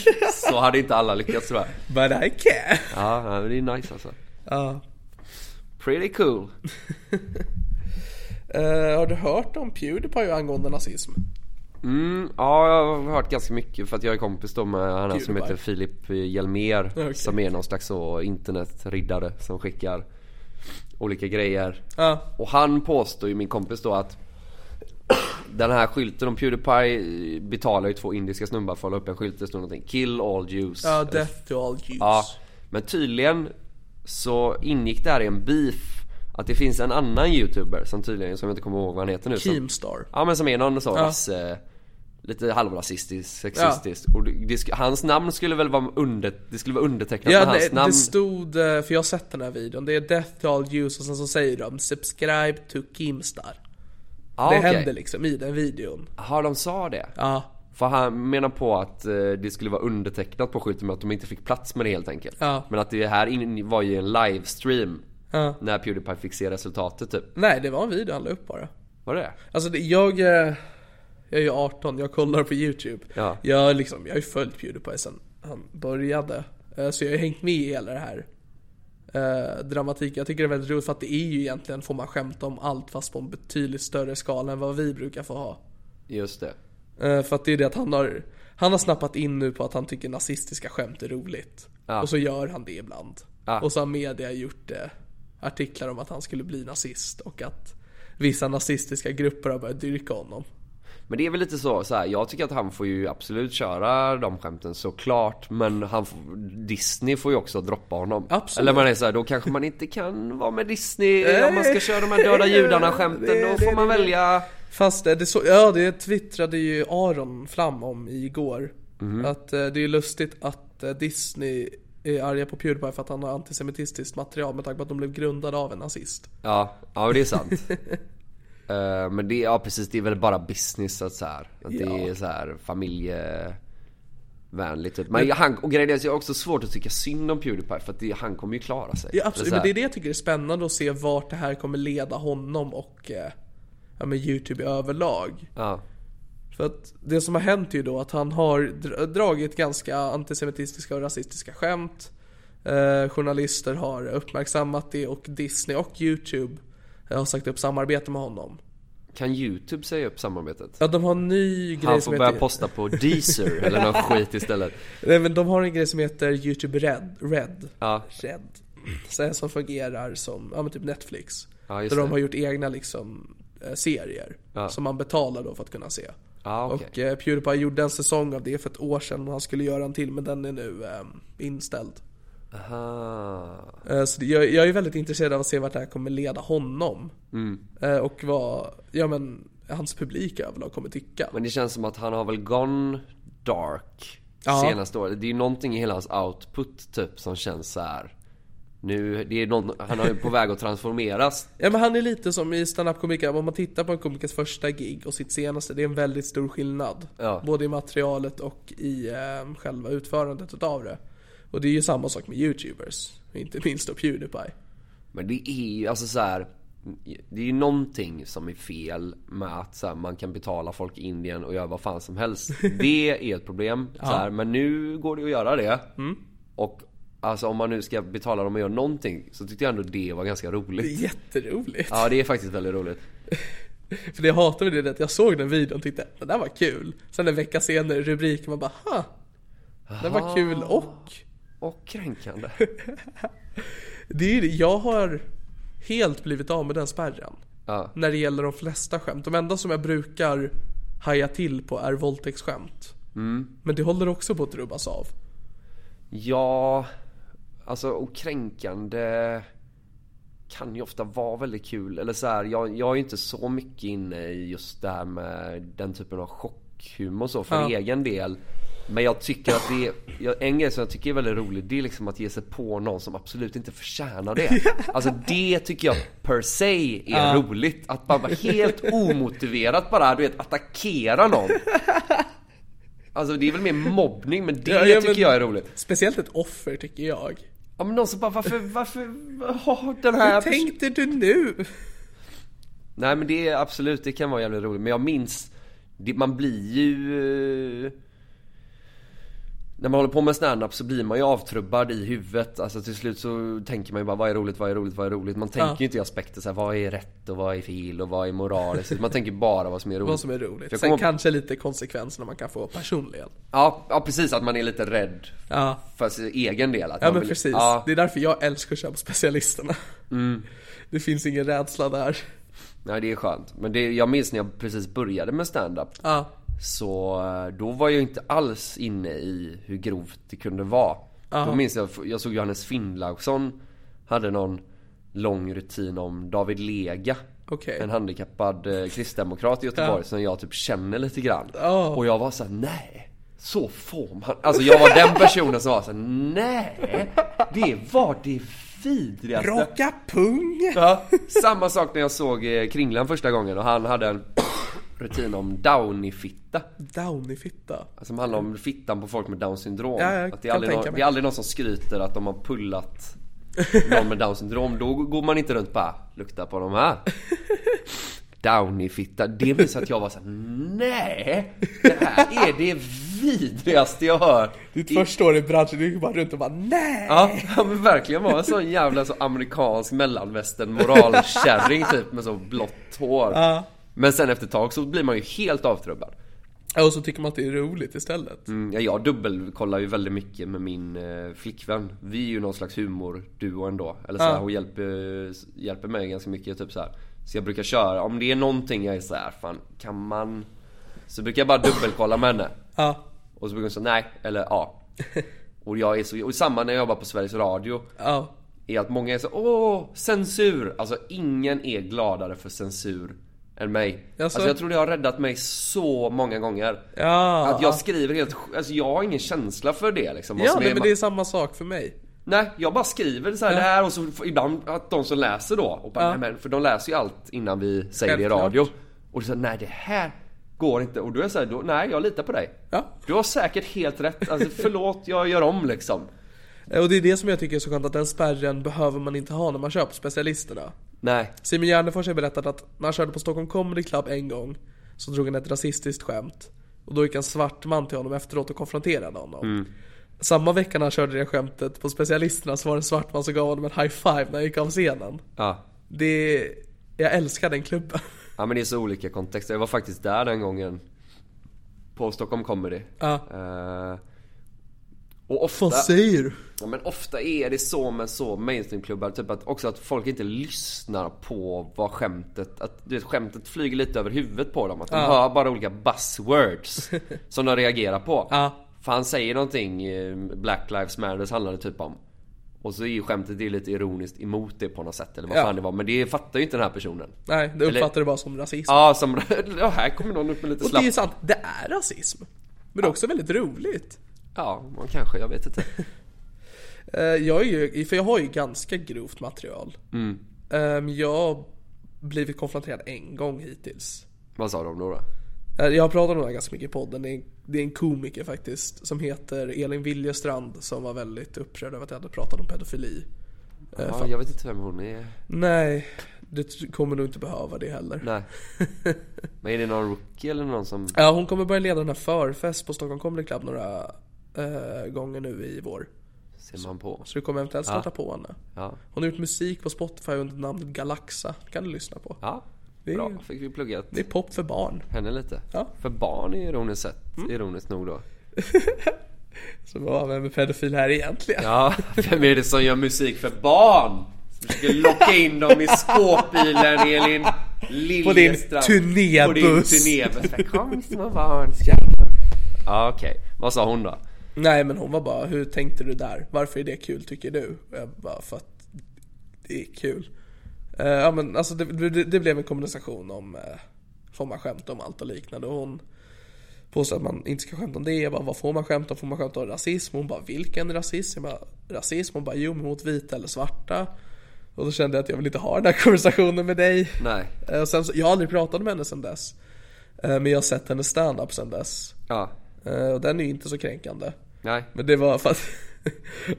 Speaker 3: så hade inte alla lyckats tror jag.
Speaker 2: But I can!
Speaker 3: Ja, nej, men det är nice alltså.
Speaker 2: Ja.
Speaker 3: Pretty cool.
Speaker 2: Eh, har du hört om Pewdiepie angående nazism?
Speaker 3: Mm, ja, jag har hört ganska mycket för att jag är kompis då med han här som
Speaker 2: Pewdiepie.
Speaker 3: heter Filip Hjelmér.
Speaker 2: Okej.
Speaker 3: Som är någon slags så internetriddare som skickar olika grejer.
Speaker 2: Ja.
Speaker 3: Och han påstår ju, min kompis då, att den här skylten om Pewdiepie betalar ju två indiska snubbar för att hålla upp en skylt. Det står någonting “Kill all Jews”.
Speaker 2: Ja, death to all Jews.
Speaker 3: Ja, men tydligen så ingick det här i en beef. Att det finns en annan youtuber som tydligen, som jag inte kommer ihåg vad han heter nu. som-
Speaker 2: Keemstar.
Speaker 3: Ja men som är någon sån
Speaker 2: Ja.
Speaker 3: ras, eh, Lite halvrasistisk, sexistisk och det, det, sk- hans namn skulle väl vara under, det skulle vara undertecknat med
Speaker 2: Ja,
Speaker 3: hans
Speaker 2: det,
Speaker 3: namn
Speaker 2: det stod, eh, för jag har sett den här videon, det är Death to all Jews och sen så säger de 'Subscribe to Keemstar'
Speaker 3: ja,
Speaker 2: Det
Speaker 3: Ah, okej.
Speaker 2: händer liksom i den videon.
Speaker 3: Har de sa det?
Speaker 2: Ja,
Speaker 3: För han menar på att eh, det skulle vara undertecknat på skylten men att de inte fick plats med det helt enkelt
Speaker 2: Ja.
Speaker 3: Men att det här in, var ju en livestream
Speaker 2: Ja.
Speaker 3: När Pewdiepie fick se resultatet typ
Speaker 2: nej det var en video han la upp bara.
Speaker 3: Var det
Speaker 2: Alltså det, jag, eh, jag är ju 18, jag kollar på YouTube.
Speaker 3: Ja.
Speaker 2: Jag, liksom, jag har ju följt Pewdiepie sen han började. Eh, Så jag har ju hängt med i hela det här eh, dramatiken. Jag tycker det är väldigt roligt för att det är ju egentligen, får man skämta om allt fast på en betydligt större skala än vad vi brukar få ha.
Speaker 3: Just det
Speaker 2: Eh, För att det är det att han har, han har snappat in nu på att han tycker nazistiska skämt är roligt. Och så gör han det ibland. Och så har media gjort eh, artiklar om att han skulle bli nazist och att vissa nazistiska grupper har börjat dyrka honom.
Speaker 3: Men det är väl lite så, så här, jag tycker att han får ju absolut köra de skämten såklart Men han får, Disney får ju också droppa honom
Speaker 2: Absolut.
Speaker 3: Eller man är så här, då kanske man inte kan vara med Disney om man ska köra de här döda judarna skämten Då får man välja
Speaker 2: Fast eh, det, så, ja, det twittrade ju Aron Flam om igår. Att eh, det är lustigt att eh, Disney är arga på Pewdiepie för att han har antisemitistiskt material med tanke på att de blev grundade av en nazist.
Speaker 3: Ja, ja men det är sant Eh, Men det, ja precis, det är väl bara business att så här, Att det är så här familjevänligt typ. Men han, och grejen är att jag har också svårt att tycka synd om Pewdiepie för att det, han kommer ju klara sig
Speaker 2: Ja, absolut.
Speaker 3: så
Speaker 2: Men
Speaker 3: här-
Speaker 2: det är det jag tycker är spännande att se vart det här kommer leda honom och eh, ja, men YouTube i överlag.
Speaker 3: ja.
Speaker 2: För att det som har hänt är ju då att han har dr- dragit ganska antisemitistiska och rasistiska skämt. Eh, journalister har uppmärksammat det och Disney och YouTube eh, har sagt upp samarbete med honom.
Speaker 3: Kan YouTube säga upp samarbetet?
Speaker 2: Ja, de har en ny grej
Speaker 3: Han
Speaker 2: som
Speaker 3: får börja
Speaker 2: heter...
Speaker 3: posta på Deezer eller någon skit istället
Speaker 2: Nej, men de har en grej som heter YouTube Red. Red.
Speaker 3: Ja.
Speaker 2: Red. Så här som fungerar som, ja men typ Netflix.
Speaker 3: Ja, just
Speaker 2: där de
Speaker 3: det.
Speaker 2: har gjort egna liksom eh, serier. Som man betalar då för att kunna se.
Speaker 3: Ja, okej.
Speaker 2: Och eh, Pewdiepie gjorde en säsong av det för ett år sedan och han skulle göra en till men den är nu eh, inställd.
Speaker 3: Aha.
Speaker 2: Eh, Så det- jag, jag är väldigt intresserad av att se vart det här kommer leda honom.
Speaker 3: Mm.
Speaker 2: Eh, Och vad, ja men, hans publik överlag kommer tycka.
Speaker 3: Men det känns som att han har väl gone dark
Speaker 2: Ja.
Speaker 3: senaste året Det är ju någonting i hela hans output typ som känns så här. Nu, det är någon, han är ju på väg att transformeras
Speaker 2: Ja men han är lite som i stand up komiker om man tittar på en komikers första gig och sitt senaste, det är en väldigt stor skillnad.
Speaker 3: Ja.
Speaker 2: Både i materialet och i eh, själva utförandet utav det. Och det är ju samma sak med youtubers, inte minst då Pewdiepie.
Speaker 3: Men det är ju alltså så här. Det är ju någonting som är fel med att så här, man kan betala folk i Indien och göra vad fan som helst Det är ett problem så här, Men nu går det att göra det Och alltså om man nu ska betala dem och göra någonting Så tyckte jag ändå det var ganska
Speaker 2: Det
Speaker 3: roligt
Speaker 2: är jätteroligt.
Speaker 3: Ja det är faktiskt väldigt roligt
Speaker 2: För det jag hatar med det är att jag såg den videon och tyckte det där var kul. Sen en vecka senare i rubriken man bara ha, det var kul och
Speaker 3: Och kränkande
Speaker 2: Det är det. Jag har helt blivit av med den spärren.
Speaker 3: Ja.
Speaker 2: När det gäller de flesta skämt. De enda som jag brukar haja till på är våldtäktsskämt.
Speaker 3: Mm.
Speaker 2: Men det håller också på att rubbas av.
Speaker 3: Ja, alltså och kränkande kan ju ofta vara väldigt kul. Eller så här, jag, jag är ju inte så mycket inne i just det här med den typen av chockhumor och så för egen del. Men jag tycker att det är, jag- en grej som jag tycker är väldigt rolig det är liksom att ge sig på någon som absolut inte förtjänar det. Alltså det tycker jag per se är roligt. Att bara vara helt omotiverat bara du vet attackera någon. Alltså det är väl mer mobbning men det
Speaker 2: Ja, ja,
Speaker 3: tycker
Speaker 2: men-
Speaker 3: jag är roligt.
Speaker 2: Speciellt ett offer tycker jag.
Speaker 3: Ja men någon som bara varför, varför, oh, den här
Speaker 2: Hur tänkte du nu?
Speaker 3: Nej men det är absolut, det kan vara jävligt roligt. Men jag minns, det, man blir ju... eh, När man håller på med stand-up så blir man ju avtrubbad i huvudet. Alltså till slut så tänker man ju bara vad är roligt, vad är roligt, vad är roligt? Man tänker ju inte i aspekter så här, vad är rätt och vad är fel och vad är moraliskt? Man tänker bara vad som är roligt.
Speaker 2: Vad som är
Speaker 3: För jag
Speaker 2: roligt. Sen
Speaker 3: kommer-
Speaker 2: kanske lite konsekvenserna man kan få personligen.
Speaker 3: Ja, ja precis, att man är lite rädd
Speaker 2: Ja.
Speaker 3: för sin egen del. Att
Speaker 2: Ja
Speaker 3: man
Speaker 2: men
Speaker 3: vill-
Speaker 2: precis.
Speaker 3: Ja, Mm.
Speaker 2: Det är därför jag älskar att köra på specialisterna. Det finns ingen rädsla där.
Speaker 3: nej det är skönt. Men det, jag minns när jag precis började med stand-up.
Speaker 2: Ja.
Speaker 3: Så eh, då var jag inte alls inne i hur grovt det kunde vara. Då minns jag, jag såg Johannes Finnlaugsson hade någon lång rutin om David Lega.
Speaker 2: Okej.
Speaker 3: En handikappad eh, kristdemokrat i Göteborg som jag typ känner lite grann. Och jag var så här: nej. Så får man. Alltså jag var den personen som var så här, nej. Det var det vidrigaste.
Speaker 2: Raka pung!
Speaker 3: Ja, samma sak när jag såg eh, Kringlan första gången och han hade en rutin om Downy-fitta. Alltså,
Speaker 2: Downy-fitta.
Speaker 3: Som handlar om fittan på folk med down syndrom.
Speaker 2: Ja, jag
Speaker 3: att det,
Speaker 2: kan
Speaker 3: är aldrig
Speaker 2: tänka
Speaker 3: någon,
Speaker 2: mig.
Speaker 3: det är aldrig någon som skryter att de har pullat någon med down syndrom. Då går man inte runt och bara lukta på de här. Downy fitta. Det visar att jag var såhär, nej! Det här är det vidrigaste jag hört.
Speaker 2: Ditt
Speaker 3: I-
Speaker 2: första år i branschen, du gick bara runt och bara nej!
Speaker 3: Ja, ja men verkligen var en sån jävla så amerikansk mellanvästern moralkärring typ med så blått hår. Men sen efter ett tag så blir man ju helt avtrubbad.
Speaker 2: Ja, och så tycker man att det är roligt istället.
Speaker 3: Mm, ja, jag dubbelkollar ju väldigt mycket med min eh, flickvän. Vi är ju någon slags humorduo ändå. Eller så här,
Speaker 2: Ja.
Speaker 3: hon hjälper, s- hjälper mig ganska mycket. Typ så, här. så jag brukar köra, om det är någonting jag är så här, fan kan man? Så brukar jag bara dubbelkolla med henne.
Speaker 2: Ja,
Speaker 3: Och så brukar hon säga nej, eller ja. Och jag är så, och samma när jag jobbar på Sveriges Radio.
Speaker 2: ja,
Speaker 3: Är att många är så, åh censur! Alltså ingen är gladare för censur än mig.
Speaker 2: Jaså?
Speaker 3: Alltså jag tror det har räddat mig så många gånger.
Speaker 2: ja.
Speaker 3: Att jag skriver helt sj- Alltså jag har ingen känsla för det liksom. Vad
Speaker 2: ja
Speaker 3: som
Speaker 2: nej,
Speaker 3: är-
Speaker 2: men det är samma sak för mig.
Speaker 3: Nej, jag bara skriver så här, det här och så f- ibland att de som läser då. Och bara, nej, men, för de läser ju allt innan vi säger det i
Speaker 2: Självklart.
Speaker 3: radio. Och det är så här, nej det här går inte. Och då är jag så här, då, nej jag litar på dig.
Speaker 2: Ja.
Speaker 3: Du har säkert helt rätt. Alltså förlåt, jag gör om liksom.
Speaker 2: Eh, Och det är det som jag tycker är så skönt, att den spärren behöver man inte ha när man kör på specialisterna.
Speaker 3: Nej.
Speaker 2: Simon Gärdenfors har berättat att när han körde på Stockholm Comedy Club en gång så drog han ett rasistiskt skämt. Och då gick en svart man till honom efteråt och konfronterade honom.
Speaker 3: Mm.
Speaker 2: Samma vecka när han körde det skämtet på specialisterna så var det en svart man som gav honom en high five när han gick av scenen.
Speaker 3: Ja.
Speaker 2: Det... Jag älskar den klubben.
Speaker 3: Ja men det är så olika kontexter. Jag var faktiskt där den gången. På Stockholm Comedy.
Speaker 2: Ja.
Speaker 3: Eh, och ofta...
Speaker 2: Vad säger du?
Speaker 3: Ja, men ofta är det så med så mainstreamklubbar, typ att också att folk inte lyssnar på vad skämtet, att du vet, skämtet flyger lite över huvudet på dem. Att de hör bara olika buzzwords som de reagerar på.
Speaker 2: Ja.
Speaker 3: För han säger någonting, eh, Black Lives Matters handlar det typ om. Och så är ju skämtet det är lite ironiskt emot det på något sätt eller vad
Speaker 2: Ja.
Speaker 3: fan det var. Men det fattar ju inte den här personen.
Speaker 2: Nej, det
Speaker 3: Eller-
Speaker 2: uppfattar du bara som rasism.
Speaker 3: Ja, som, ja här kommer någon upp med lite
Speaker 2: och det är
Speaker 3: slapp
Speaker 2: ju sant, det är rasism. Men det är också väldigt roligt.
Speaker 3: Ja, man kanske, jag vet inte.
Speaker 2: Eh, Jag är ju, för jag har ju ganska grovt material.
Speaker 3: Mm.
Speaker 2: Ehm, Jag har blivit konfronterad en gång hittills.
Speaker 3: Vad sa de då? då?
Speaker 2: Eh, Jag har pratat om det här ganska mycket i podden. Det är, det är en komiker faktiskt som heter Elin Viljestrand som var väldigt upprörd över att jag hade pratat om pedofili. Eh,
Speaker 3: Ja,
Speaker 2: fan.
Speaker 3: jag vet inte vem hon är.
Speaker 2: Nej, du t- kommer nog inte behöva det heller.
Speaker 3: Nej. Men är det någon rookie eller någon som...
Speaker 2: Ja, hon kommer börja leda den här förfest på Stockholm Comedy Club några eh, gånger nu i vår.
Speaker 3: Ser man på?
Speaker 2: Så du kommer eventuellt stöta på henne.
Speaker 3: Ja.
Speaker 2: Hon har gjort musik på Spotify under namnet Galaxa. Det kan du lyssna på.
Speaker 3: Ja,
Speaker 2: Det är-
Speaker 3: bra. Fick vi pluggat
Speaker 2: Det är pop för barn.
Speaker 3: henne lite.
Speaker 2: Ja. Mm.
Speaker 3: För barn är ironiskt sett, ironiskt nog då.
Speaker 2: Så vad, vem är pedofil här egentligen?
Speaker 3: Ja, vem är det som gör musik för barn? Som försöker locka in dem i skåpbilen Elin
Speaker 2: På din
Speaker 3: Liljestrand. På din
Speaker 2: turnébuss.
Speaker 3: turnébuss. Kom små barn, ska jag- Ja, okej. Vad sa hon då?
Speaker 2: Nej men hon var bara, hur tänkte du där? Varför är det kul tycker du? Och jag bara, för att det är kul. Eh, ja men alltså det, det, det blev en konversation om, eh, får man skämta om allt och liknande. Och hon påstod att man inte ska skämta om det. Jag bara, vad får man skämta om? Får man skämta om rasism? Hon bara, vilken rasism? Jag bara, rasism? Hon bara, jo men mot vita eller svarta. Och då kände jag att jag vill inte ha den här konversationen med dig.
Speaker 3: Nej.
Speaker 2: Eh, och sen, så, jag har aldrig pratat med henne sen dess. Eh, men jag har sett hennes stand-up sen dess.
Speaker 3: Ja.
Speaker 2: Eh, och den är ju inte så kränkande.
Speaker 3: Nej.
Speaker 2: Men det var för att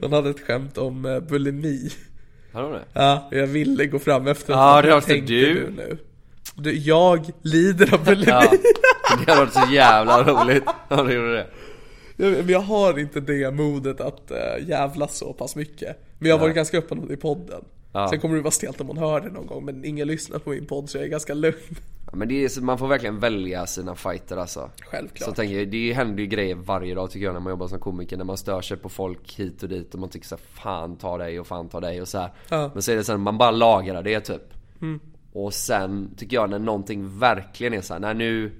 Speaker 2: hon hade ett skämt om eh, bulimi.
Speaker 3: Hade hon det?
Speaker 2: Ja, och jag ville gå fram efter
Speaker 3: Ja,
Speaker 2: henne.
Speaker 3: det
Speaker 2: Vad
Speaker 3: var också
Speaker 2: tänker
Speaker 3: du.
Speaker 2: nu? Du, jag lider av bulimi.
Speaker 3: Ja. Det hade varit så jävla roligt om du gjorde det.
Speaker 2: Jag, men jag har inte det modet att uh, jävlas så pass mycket. Men jag har varit ganska öppen om det i podden. Sen kommer det vara stelt om hon hör det någon gång, men ingen lyssnar på min podd så jag är ganska lugn.
Speaker 3: Ja, men det är, så- man får verkligen välja sina fighter alltså.
Speaker 2: Självklart.
Speaker 3: Så tänker jag, det händer ju grejer varje dag tycker jag när man jobbar som komiker. När man stör sig på folk hit och dit och man tycker så här, fan ta dig och fan ta dig och så här. Men så är det sen, man bara lagrar det typ. Och sen tycker jag när någonting verkligen är så här, nej nu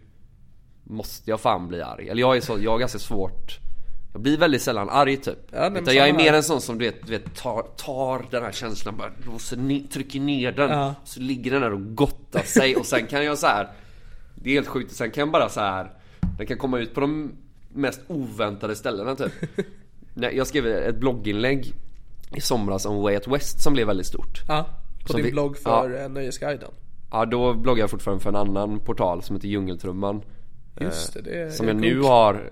Speaker 3: måste jag fan bli arg. Eller jag är så, jag har ganska svårt. Jag blir väldigt sällan arg typ.
Speaker 2: Ja, nej, men
Speaker 3: Utan jag är
Speaker 2: samma här.
Speaker 3: mer en sån som du vet, du vet tar, tar den här känslan bara låser ner, trycker ner den.
Speaker 2: Ja.
Speaker 3: Så ligger den där och gottar sig och sen kan jag så här. Det är helt sjukt, sen kan jag bara så här. Den kan komma ut på de mest oväntade ställena typ. Nej, jag skrev ett blogginlägg i somras om Way Out West som blev väldigt stort.
Speaker 2: Ja, på
Speaker 3: Som
Speaker 2: din
Speaker 3: vi-
Speaker 2: blogg för eh, Nöjesguiden.
Speaker 3: Ja, då bloggar jag fortfarande för en annan portal som heter Djungeltrumman.
Speaker 2: Just det, det är
Speaker 3: Som jag
Speaker 2: en
Speaker 3: nu
Speaker 2: god-
Speaker 3: har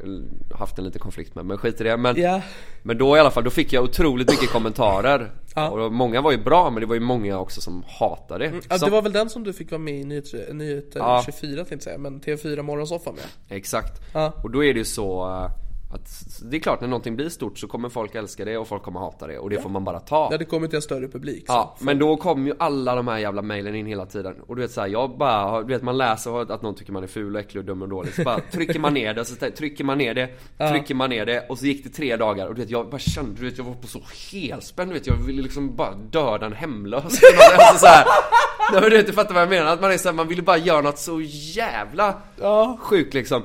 Speaker 3: haft en liten konflikt med, men skit i det. Men,
Speaker 2: Ja.
Speaker 3: men då i alla fall, då fick jag otroligt mycket kommentarer.
Speaker 2: Ja. Mm,
Speaker 3: Och många var ju bra, men det var ju många också som hatade.
Speaker 2: Ja,
Speaker 3: Som-
Speaker 2: det var väl den som du fick vara med i Nyheter, nyheter
Speaker 3: Ja.
Speaker 2: 24 tänkte jag säga, men TV4 morgonsoffa med.
Speaker 3: Exakt.
Speaker 2: Ja.
Speaker 3: Och då är det ju så eh, Att, s- det är klart, när någonting blir stort så kommer folk älska det och folk kommer hata det. Och det får man bara ta.
Speaker 5: Det hade kommit till en större publik. så.
Speaker 3: Ja, men då kom ju alla de här jävla mailen in hela tiden. Och du vet såhär, jag bara, du vet man läser att någon tycker man är ful och äcklig och dum och dålig. Så bara trycker man ner det, så tä- trycker man ner det, trycker man ner det. Och så gick det tre dagar och du vet jag bara kände, du vet jag var på så helspänd du vet. Jag ville liksom bara döda en hemlös. alltså, så här. Nej men du vet, du fattar vad jag menar. Att man är såhär, man ville bara göra något så jävla sjukt liksom.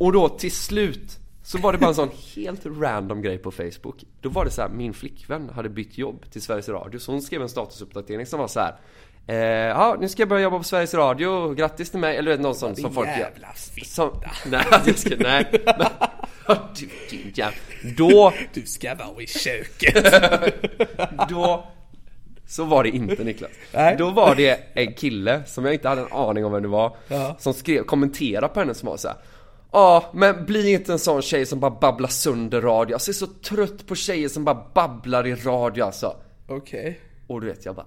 Speaker 3: Och då till slut så var det bara en sån helt random grej på Facebook. Då var det så här, min flickvän hade bytt jobb till Sveriges Radio. Så hon skrev en statusuppdatering som var så här. Eh, ja, nu ska jag börja jobba på Sveriges Radio, grattis till mig. Eller du vet, någon sån som folk
Speaker 5: jävla
Speaker 3: gör. Som, nej, jag ska, nej. Men, du, din jävla. Då,
Speaker 5: Du ska vara i köket.
Speaker 3: då, så var det inte Niklas.
Speaker 5: Nej.
Speaker 3: Då var det en kille som jag inte hade en aning om vem det var. Som skrev, kommenterade på henne som var så här. Ja, men bli inte en sån tjej som bara babblar sönder radio. Alltså jag är så trött på tjejer som bara babblar i radio alltså.
Speaker 5: Okej.
Speaker 3: Och du vet jag bara,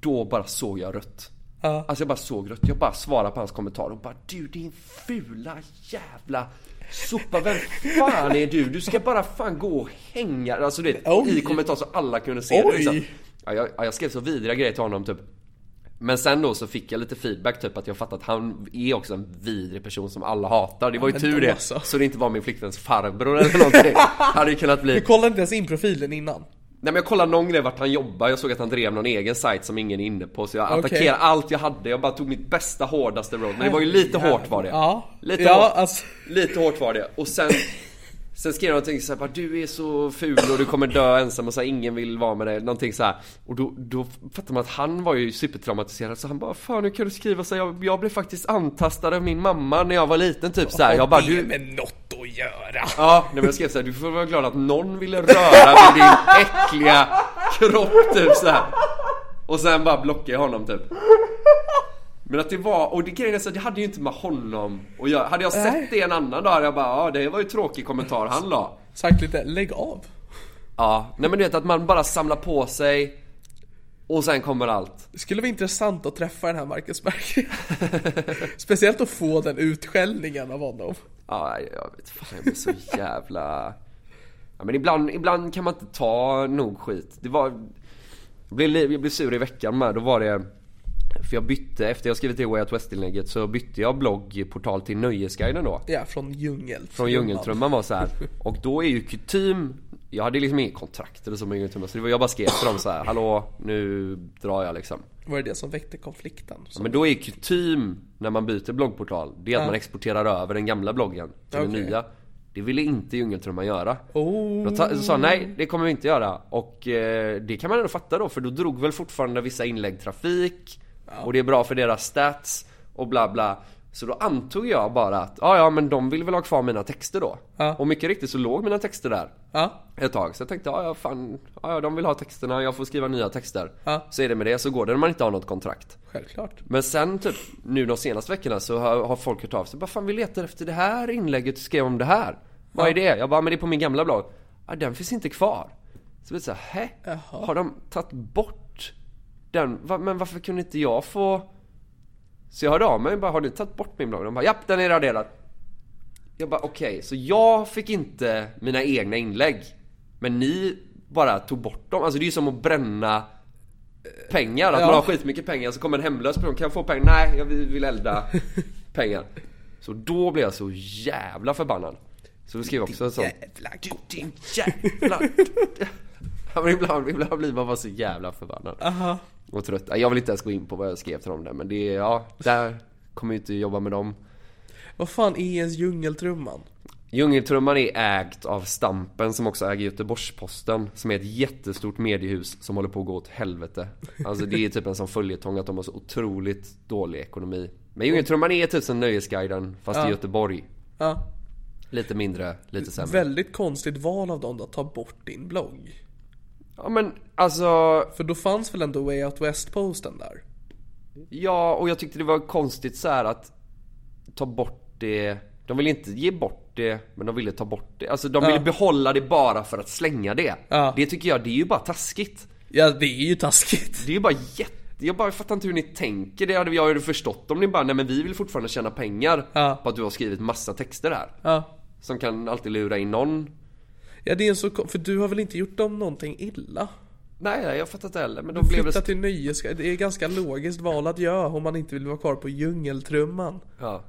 Speaker 3: då bara såg jag rött. Alltså jag bara såg rött. Jag bara svarade på hans kommentar och bara du din fula jävla sopa. Vem fan är du? Du ska bara fan gå och hänga. Alltså du vet,
Speaker 5: Oj.
Speaker 3: i kommentar så alla kunde se
Speaker 5: Oj.
Speaker 3: det. Liksom. Ja, jag, ja, jag skrev så vidriga grejer till honom typ. Men sen då så fick jag lite feedback typ att jag fattat att han är också en vidrig person som alla hatar. Det var ju
Speaker 5: men
Speaker 3: tur
Speaker 5: då
Speaker 3: det.
Speaker 5: så.
Speaker 3: Så det inte var min flickväns farbror eller någonting. Hade ju kunnat bli.
Speaker 5: Du kollade inte ens in profilen innan?
Speaker 3: Nej men jag kollade någon grej vart han jobbar, jag såg att han drev någon egen sajt som ingen är inne på Så jag
Speaker 5: Okej.
Speaker 3: attackerade allt jag hade, jag bara tog mitt bästa hårdaste road Men det var ju lite hårt var det
Speaker 5: Ja.
Speaker 3: lite,
Speaker 5: Ja,
Speaker 3: hårt,
Speaker 5: alltså.
Speaker 3: lite hårt var det och sen Sen skrev jag någonting såhär bara du är så ful och du kommer dö ensam och så här, ingen vill vara med dig Någonting såhär Och då, då fattar man att han var ju supertraumatiserad så han bara Fan hur kan du skriva så här? jag, jag blev faktiskt antastad av min mamma när jag var liten typ såhär Jag bara
Speaker 5: Det
Speaker 3: du
Speaker 5: är med något att göra.
Speaker 3: Ja, nej, men jag skrev såhär, du får vara glad att någon ville röra vid din äckliga kropp typ såhär. Och sen bara blockade jag honom typ. Men att det var, och det grejen är så att det hade ju inte med honom att göra. Hade jag sett det en annan dag hade jag bara, ja det var ju tråkig kommentar han la.
Speaker 5: Sagt lite, lägg av.
Speaker 3: Ja, nej men du vet att man bara samlar på sig och sen kommer allt.
Speaker 5: Det skulle vara intressant att träffa den här Marcus Berggren. Speciellt att få den utskällningen av honom.
Speaker 3: Ja, nej, jag vet fan, jag blir så jävla... Ja, men ibland, ibland kan man inte ta nog skit. Det var... Jag blev, li- jag blev sur i veckan med, då var det... För jag bytte, efter jag skrivit det Way Out West-inlägget så bytte jag bloggportal till Nöjesguiden då.
Speaker 5: Ja, från djungel.
Speaker 3: Från Djungeltrumman var så här. Och då är ju kutym Jag hade liksom inget kontrakt eller så med Djungeltrumman så det var, jag bara skrev till dem så här. Hallå, nu drar jag liksom.
Speaker 5: Var det det som väckte konflikten?
Speaker 3: Ja, Men då är kutym när man byter bloggportal, det är att man exporterar över den gamla bloggen till den
Speaker 5: Okej. Oh.
Speaker 3: nya. Det ville inte Djungeltrumman göra. Då ta, så sa han, nej, det kommer vi inte göra. Och eh, det kan man ändå fatta då, för då drog väl fortfarande vissa inlägg trafik och det är bra för deras stats och bla bla. Så då antog jag bara att, ja ja men de vill väl ha kvar mina texter då. Och mycket riktigt så låg mina texter där
Speaker 5: Ja,
Speaker 3: ett tag. Så jag tänkte, ja ja fan, ja ja, de vill ha texterna, jag får skriva nya texter.
Speaker 5: Ja.
Speaker 3: Så är det med det, så går det när man inte har något kontrakt.
Speaker 5: självklart.
Speaker 3: Men sen typ nu de senaste veckorna så har, har folk hört av sig. Bara fan vi letar efter det här inlägget du skrev om det här. Vad är det? Jag bara men det är på min gamla blogg. Ja den finns inte kvar. Så vi såhär, hä? Har de tagit bort den? Va, men varför kunde inte jag få? Så jag hörde av mig och bara har ni tagit bort min blogg? De bara japp den är raderad. Jag bara okej, så jag fick inte mina egna inlägg. Men ni bara tog bort dem. Alltså det är ju som att bränna eh, pengar. Att man har skitmycket pengar så kommer en hemlös person. Kan jag få pengar? Nej, jag vill vill elda pengar. Så då blev jag så jävla förbannad. Så då skrev jag också en sån...
Speaker 5: Jävla god.
Speaker 3: Din jävla... Ja, men ibland, ibland blir man bara så jävla förbannad. Och trött. Jag vill inte ens gå in på vad jag skrev till dem där men det är, ja, där kommer jag inte jobba med dem.
Speaker 5: Vad fan är ens djungeltrumman?
Speaker 3: Djungeltrumman är ägt av Stampen som också äger Göteborgs-Posten Som är ett jättestort mediehus som håller på att gå åt helvete Alltså det är typ en sån följetong att de har så otroligt dålig ekonomi Men Djungeltrumman är typ som Nöjesguiden fast i Göteborg
Speaker 5: Ja.
Speaker 3: Lite mindre, lite sämre
Speaker 5: Väldigt konstigt val av dem då, att ta bort din blogg.
Speaker 3: Ja men alltså
Speaker 5: För då fanns väl ändå Way Out West-posten där?
Speaker 3: Ja, och jag tyckte det var konstigt så här att ta bort det. De ville inte ge bort det, men de ville ta bort det. Alltså de ville behålla det bara för att slänga det.
Speaker 5: Ja.
Speaker 3: Det tycker jag, det är ju bara taskigt.
Speaker 5: Ja, det är ju taskigt.
Speaker 3: Det är ju bara jätte... Jag bara fattar inte hur ni tänker. Det hade jag ju förstått om ni bara, nej men vi vill fortfarande tjäna pengar
Speaker 5: Ja.
Speaker 3: på att du har skrivit massa texter här.
Speaker 5: Ja.
Speaker 3: Som kan alltid lura in någon.
Speaker 2: Ja det är en så kon- för du har väl inte gjort dem någonting illa?
Speaker 3: Nej, nej, jag fattar inte heller. Men de
Speaker 2: Du
Speaker 3: blev väl...
Speaker 2: flyttar till Nöjesguiden, det är ganska logiskt val att göra om man inte vill vara kvar på djungeltrumman.
Speaker 3: Ja. ja.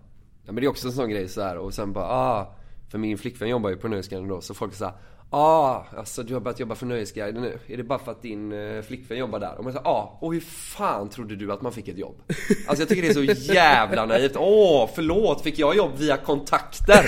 Speaker 3: Men det är också en sån grej så här. och sen bara ah. För min flickvän jobbar ju på Nöjesguiden då så folk säger ah, alltså du har börjat jobba för Nöjesguiden nu. Är det bara för att din eh, flickvän jobbar där? Och man säger ah, och hur fan trodde du att man fick ett jobb? Alltså jag tycker det är så jävla naivt. Åh, förlåt, fick jag jobb via kontakter?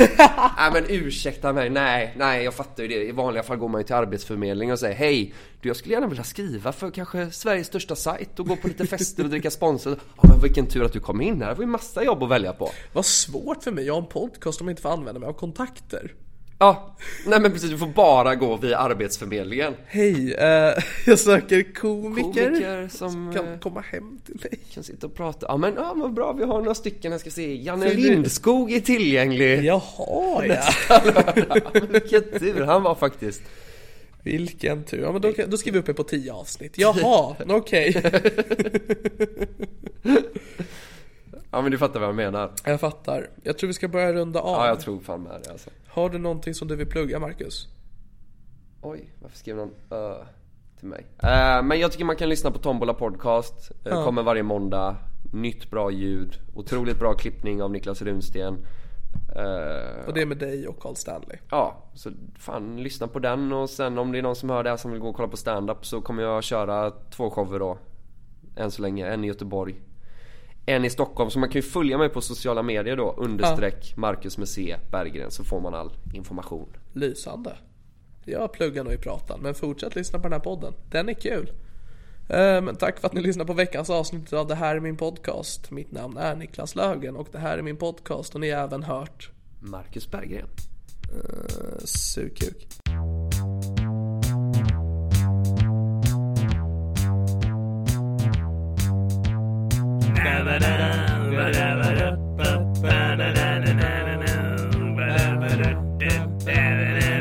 Speaker 3: Nej men ursäkta mig, nej, nej jag fattar ju det. I vanliga fall går man ju till Arbetsförmedlingen och säger hej, du jag skulle gärna vilja skriva för kanske Sveriges största sajt och gå på lite fester och dricka sponsor. Ja men vilken tur att du kom in här, det var ju massa jobb att välja på.
Speaker 2: Vad svårt för mig, jag har en podcast om jag inte får använda mig av kontakter.
Speaker 3: Ja, nej men precis. Du får bara gå via Arbetsförmedlingen.
Speaker 2: Hej, eh, jag söker komiker,
Speaker 3: Komiker som, eh,
Speaker 2: kan komma hem till mig.
Speaker 3: Kan sitta och prata. Ja men ja, vad bra, vi har några stycken. Jag ska se. Janne Lindskog är tillgänglig.
Speaker 2: Jaha ja,
Speaker 3: Vilken tur han var faktiskt.
Speaker 2: vilken tur. Ja men då, kan- då skriver vi upp er på tio avsnitt. Jaha, okej.
Speaker 3: Ja men du fattar vad jag menar.
Speaker 2: Jag fattar. Jag tror vi ska börja runda av.
Speaker 3: Ja jag tror fan med det alltså.
Speaker 2: Har du någonting som du vill plugga Marcus?
Speaker 3: Oj, varför skrev någon ö till mig? Eh, men jag tycker man kan lyssna på Tombola Podcast. Eh, Kommer varje måndag. Nytt bra ljud. Otroligt bra klippning av Niklas Runsten. Eh,
Speaker 2: Och det är med dig och Carl Stanley.
Speaker 3: Ja, så fan lyssna på den och sen om det är någon som hör det här som vill gå och kolla på stand-up så kommer jag köra två shower då. Än så länge, en i Göteborg. En i Stockholm, så man kan ju följa mig på sociala medier då, understreck Marcus med C Berggren så får man all information.
Speaker 2: Lysande. Jag pluggar nog i pratan, men fortsätt lyssna på den här podden. Den är kul. Ehm, tack för att ni lyssnar på veckans avsnitt av Det här är min podcast. Mitt namn är Niklas Löfgren och det här är min podcast och ni har även hört
Speaker 3: Marcus Berggren.
Speaker 2: Sukuk.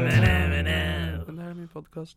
Speaker 2: Det här är min podcast.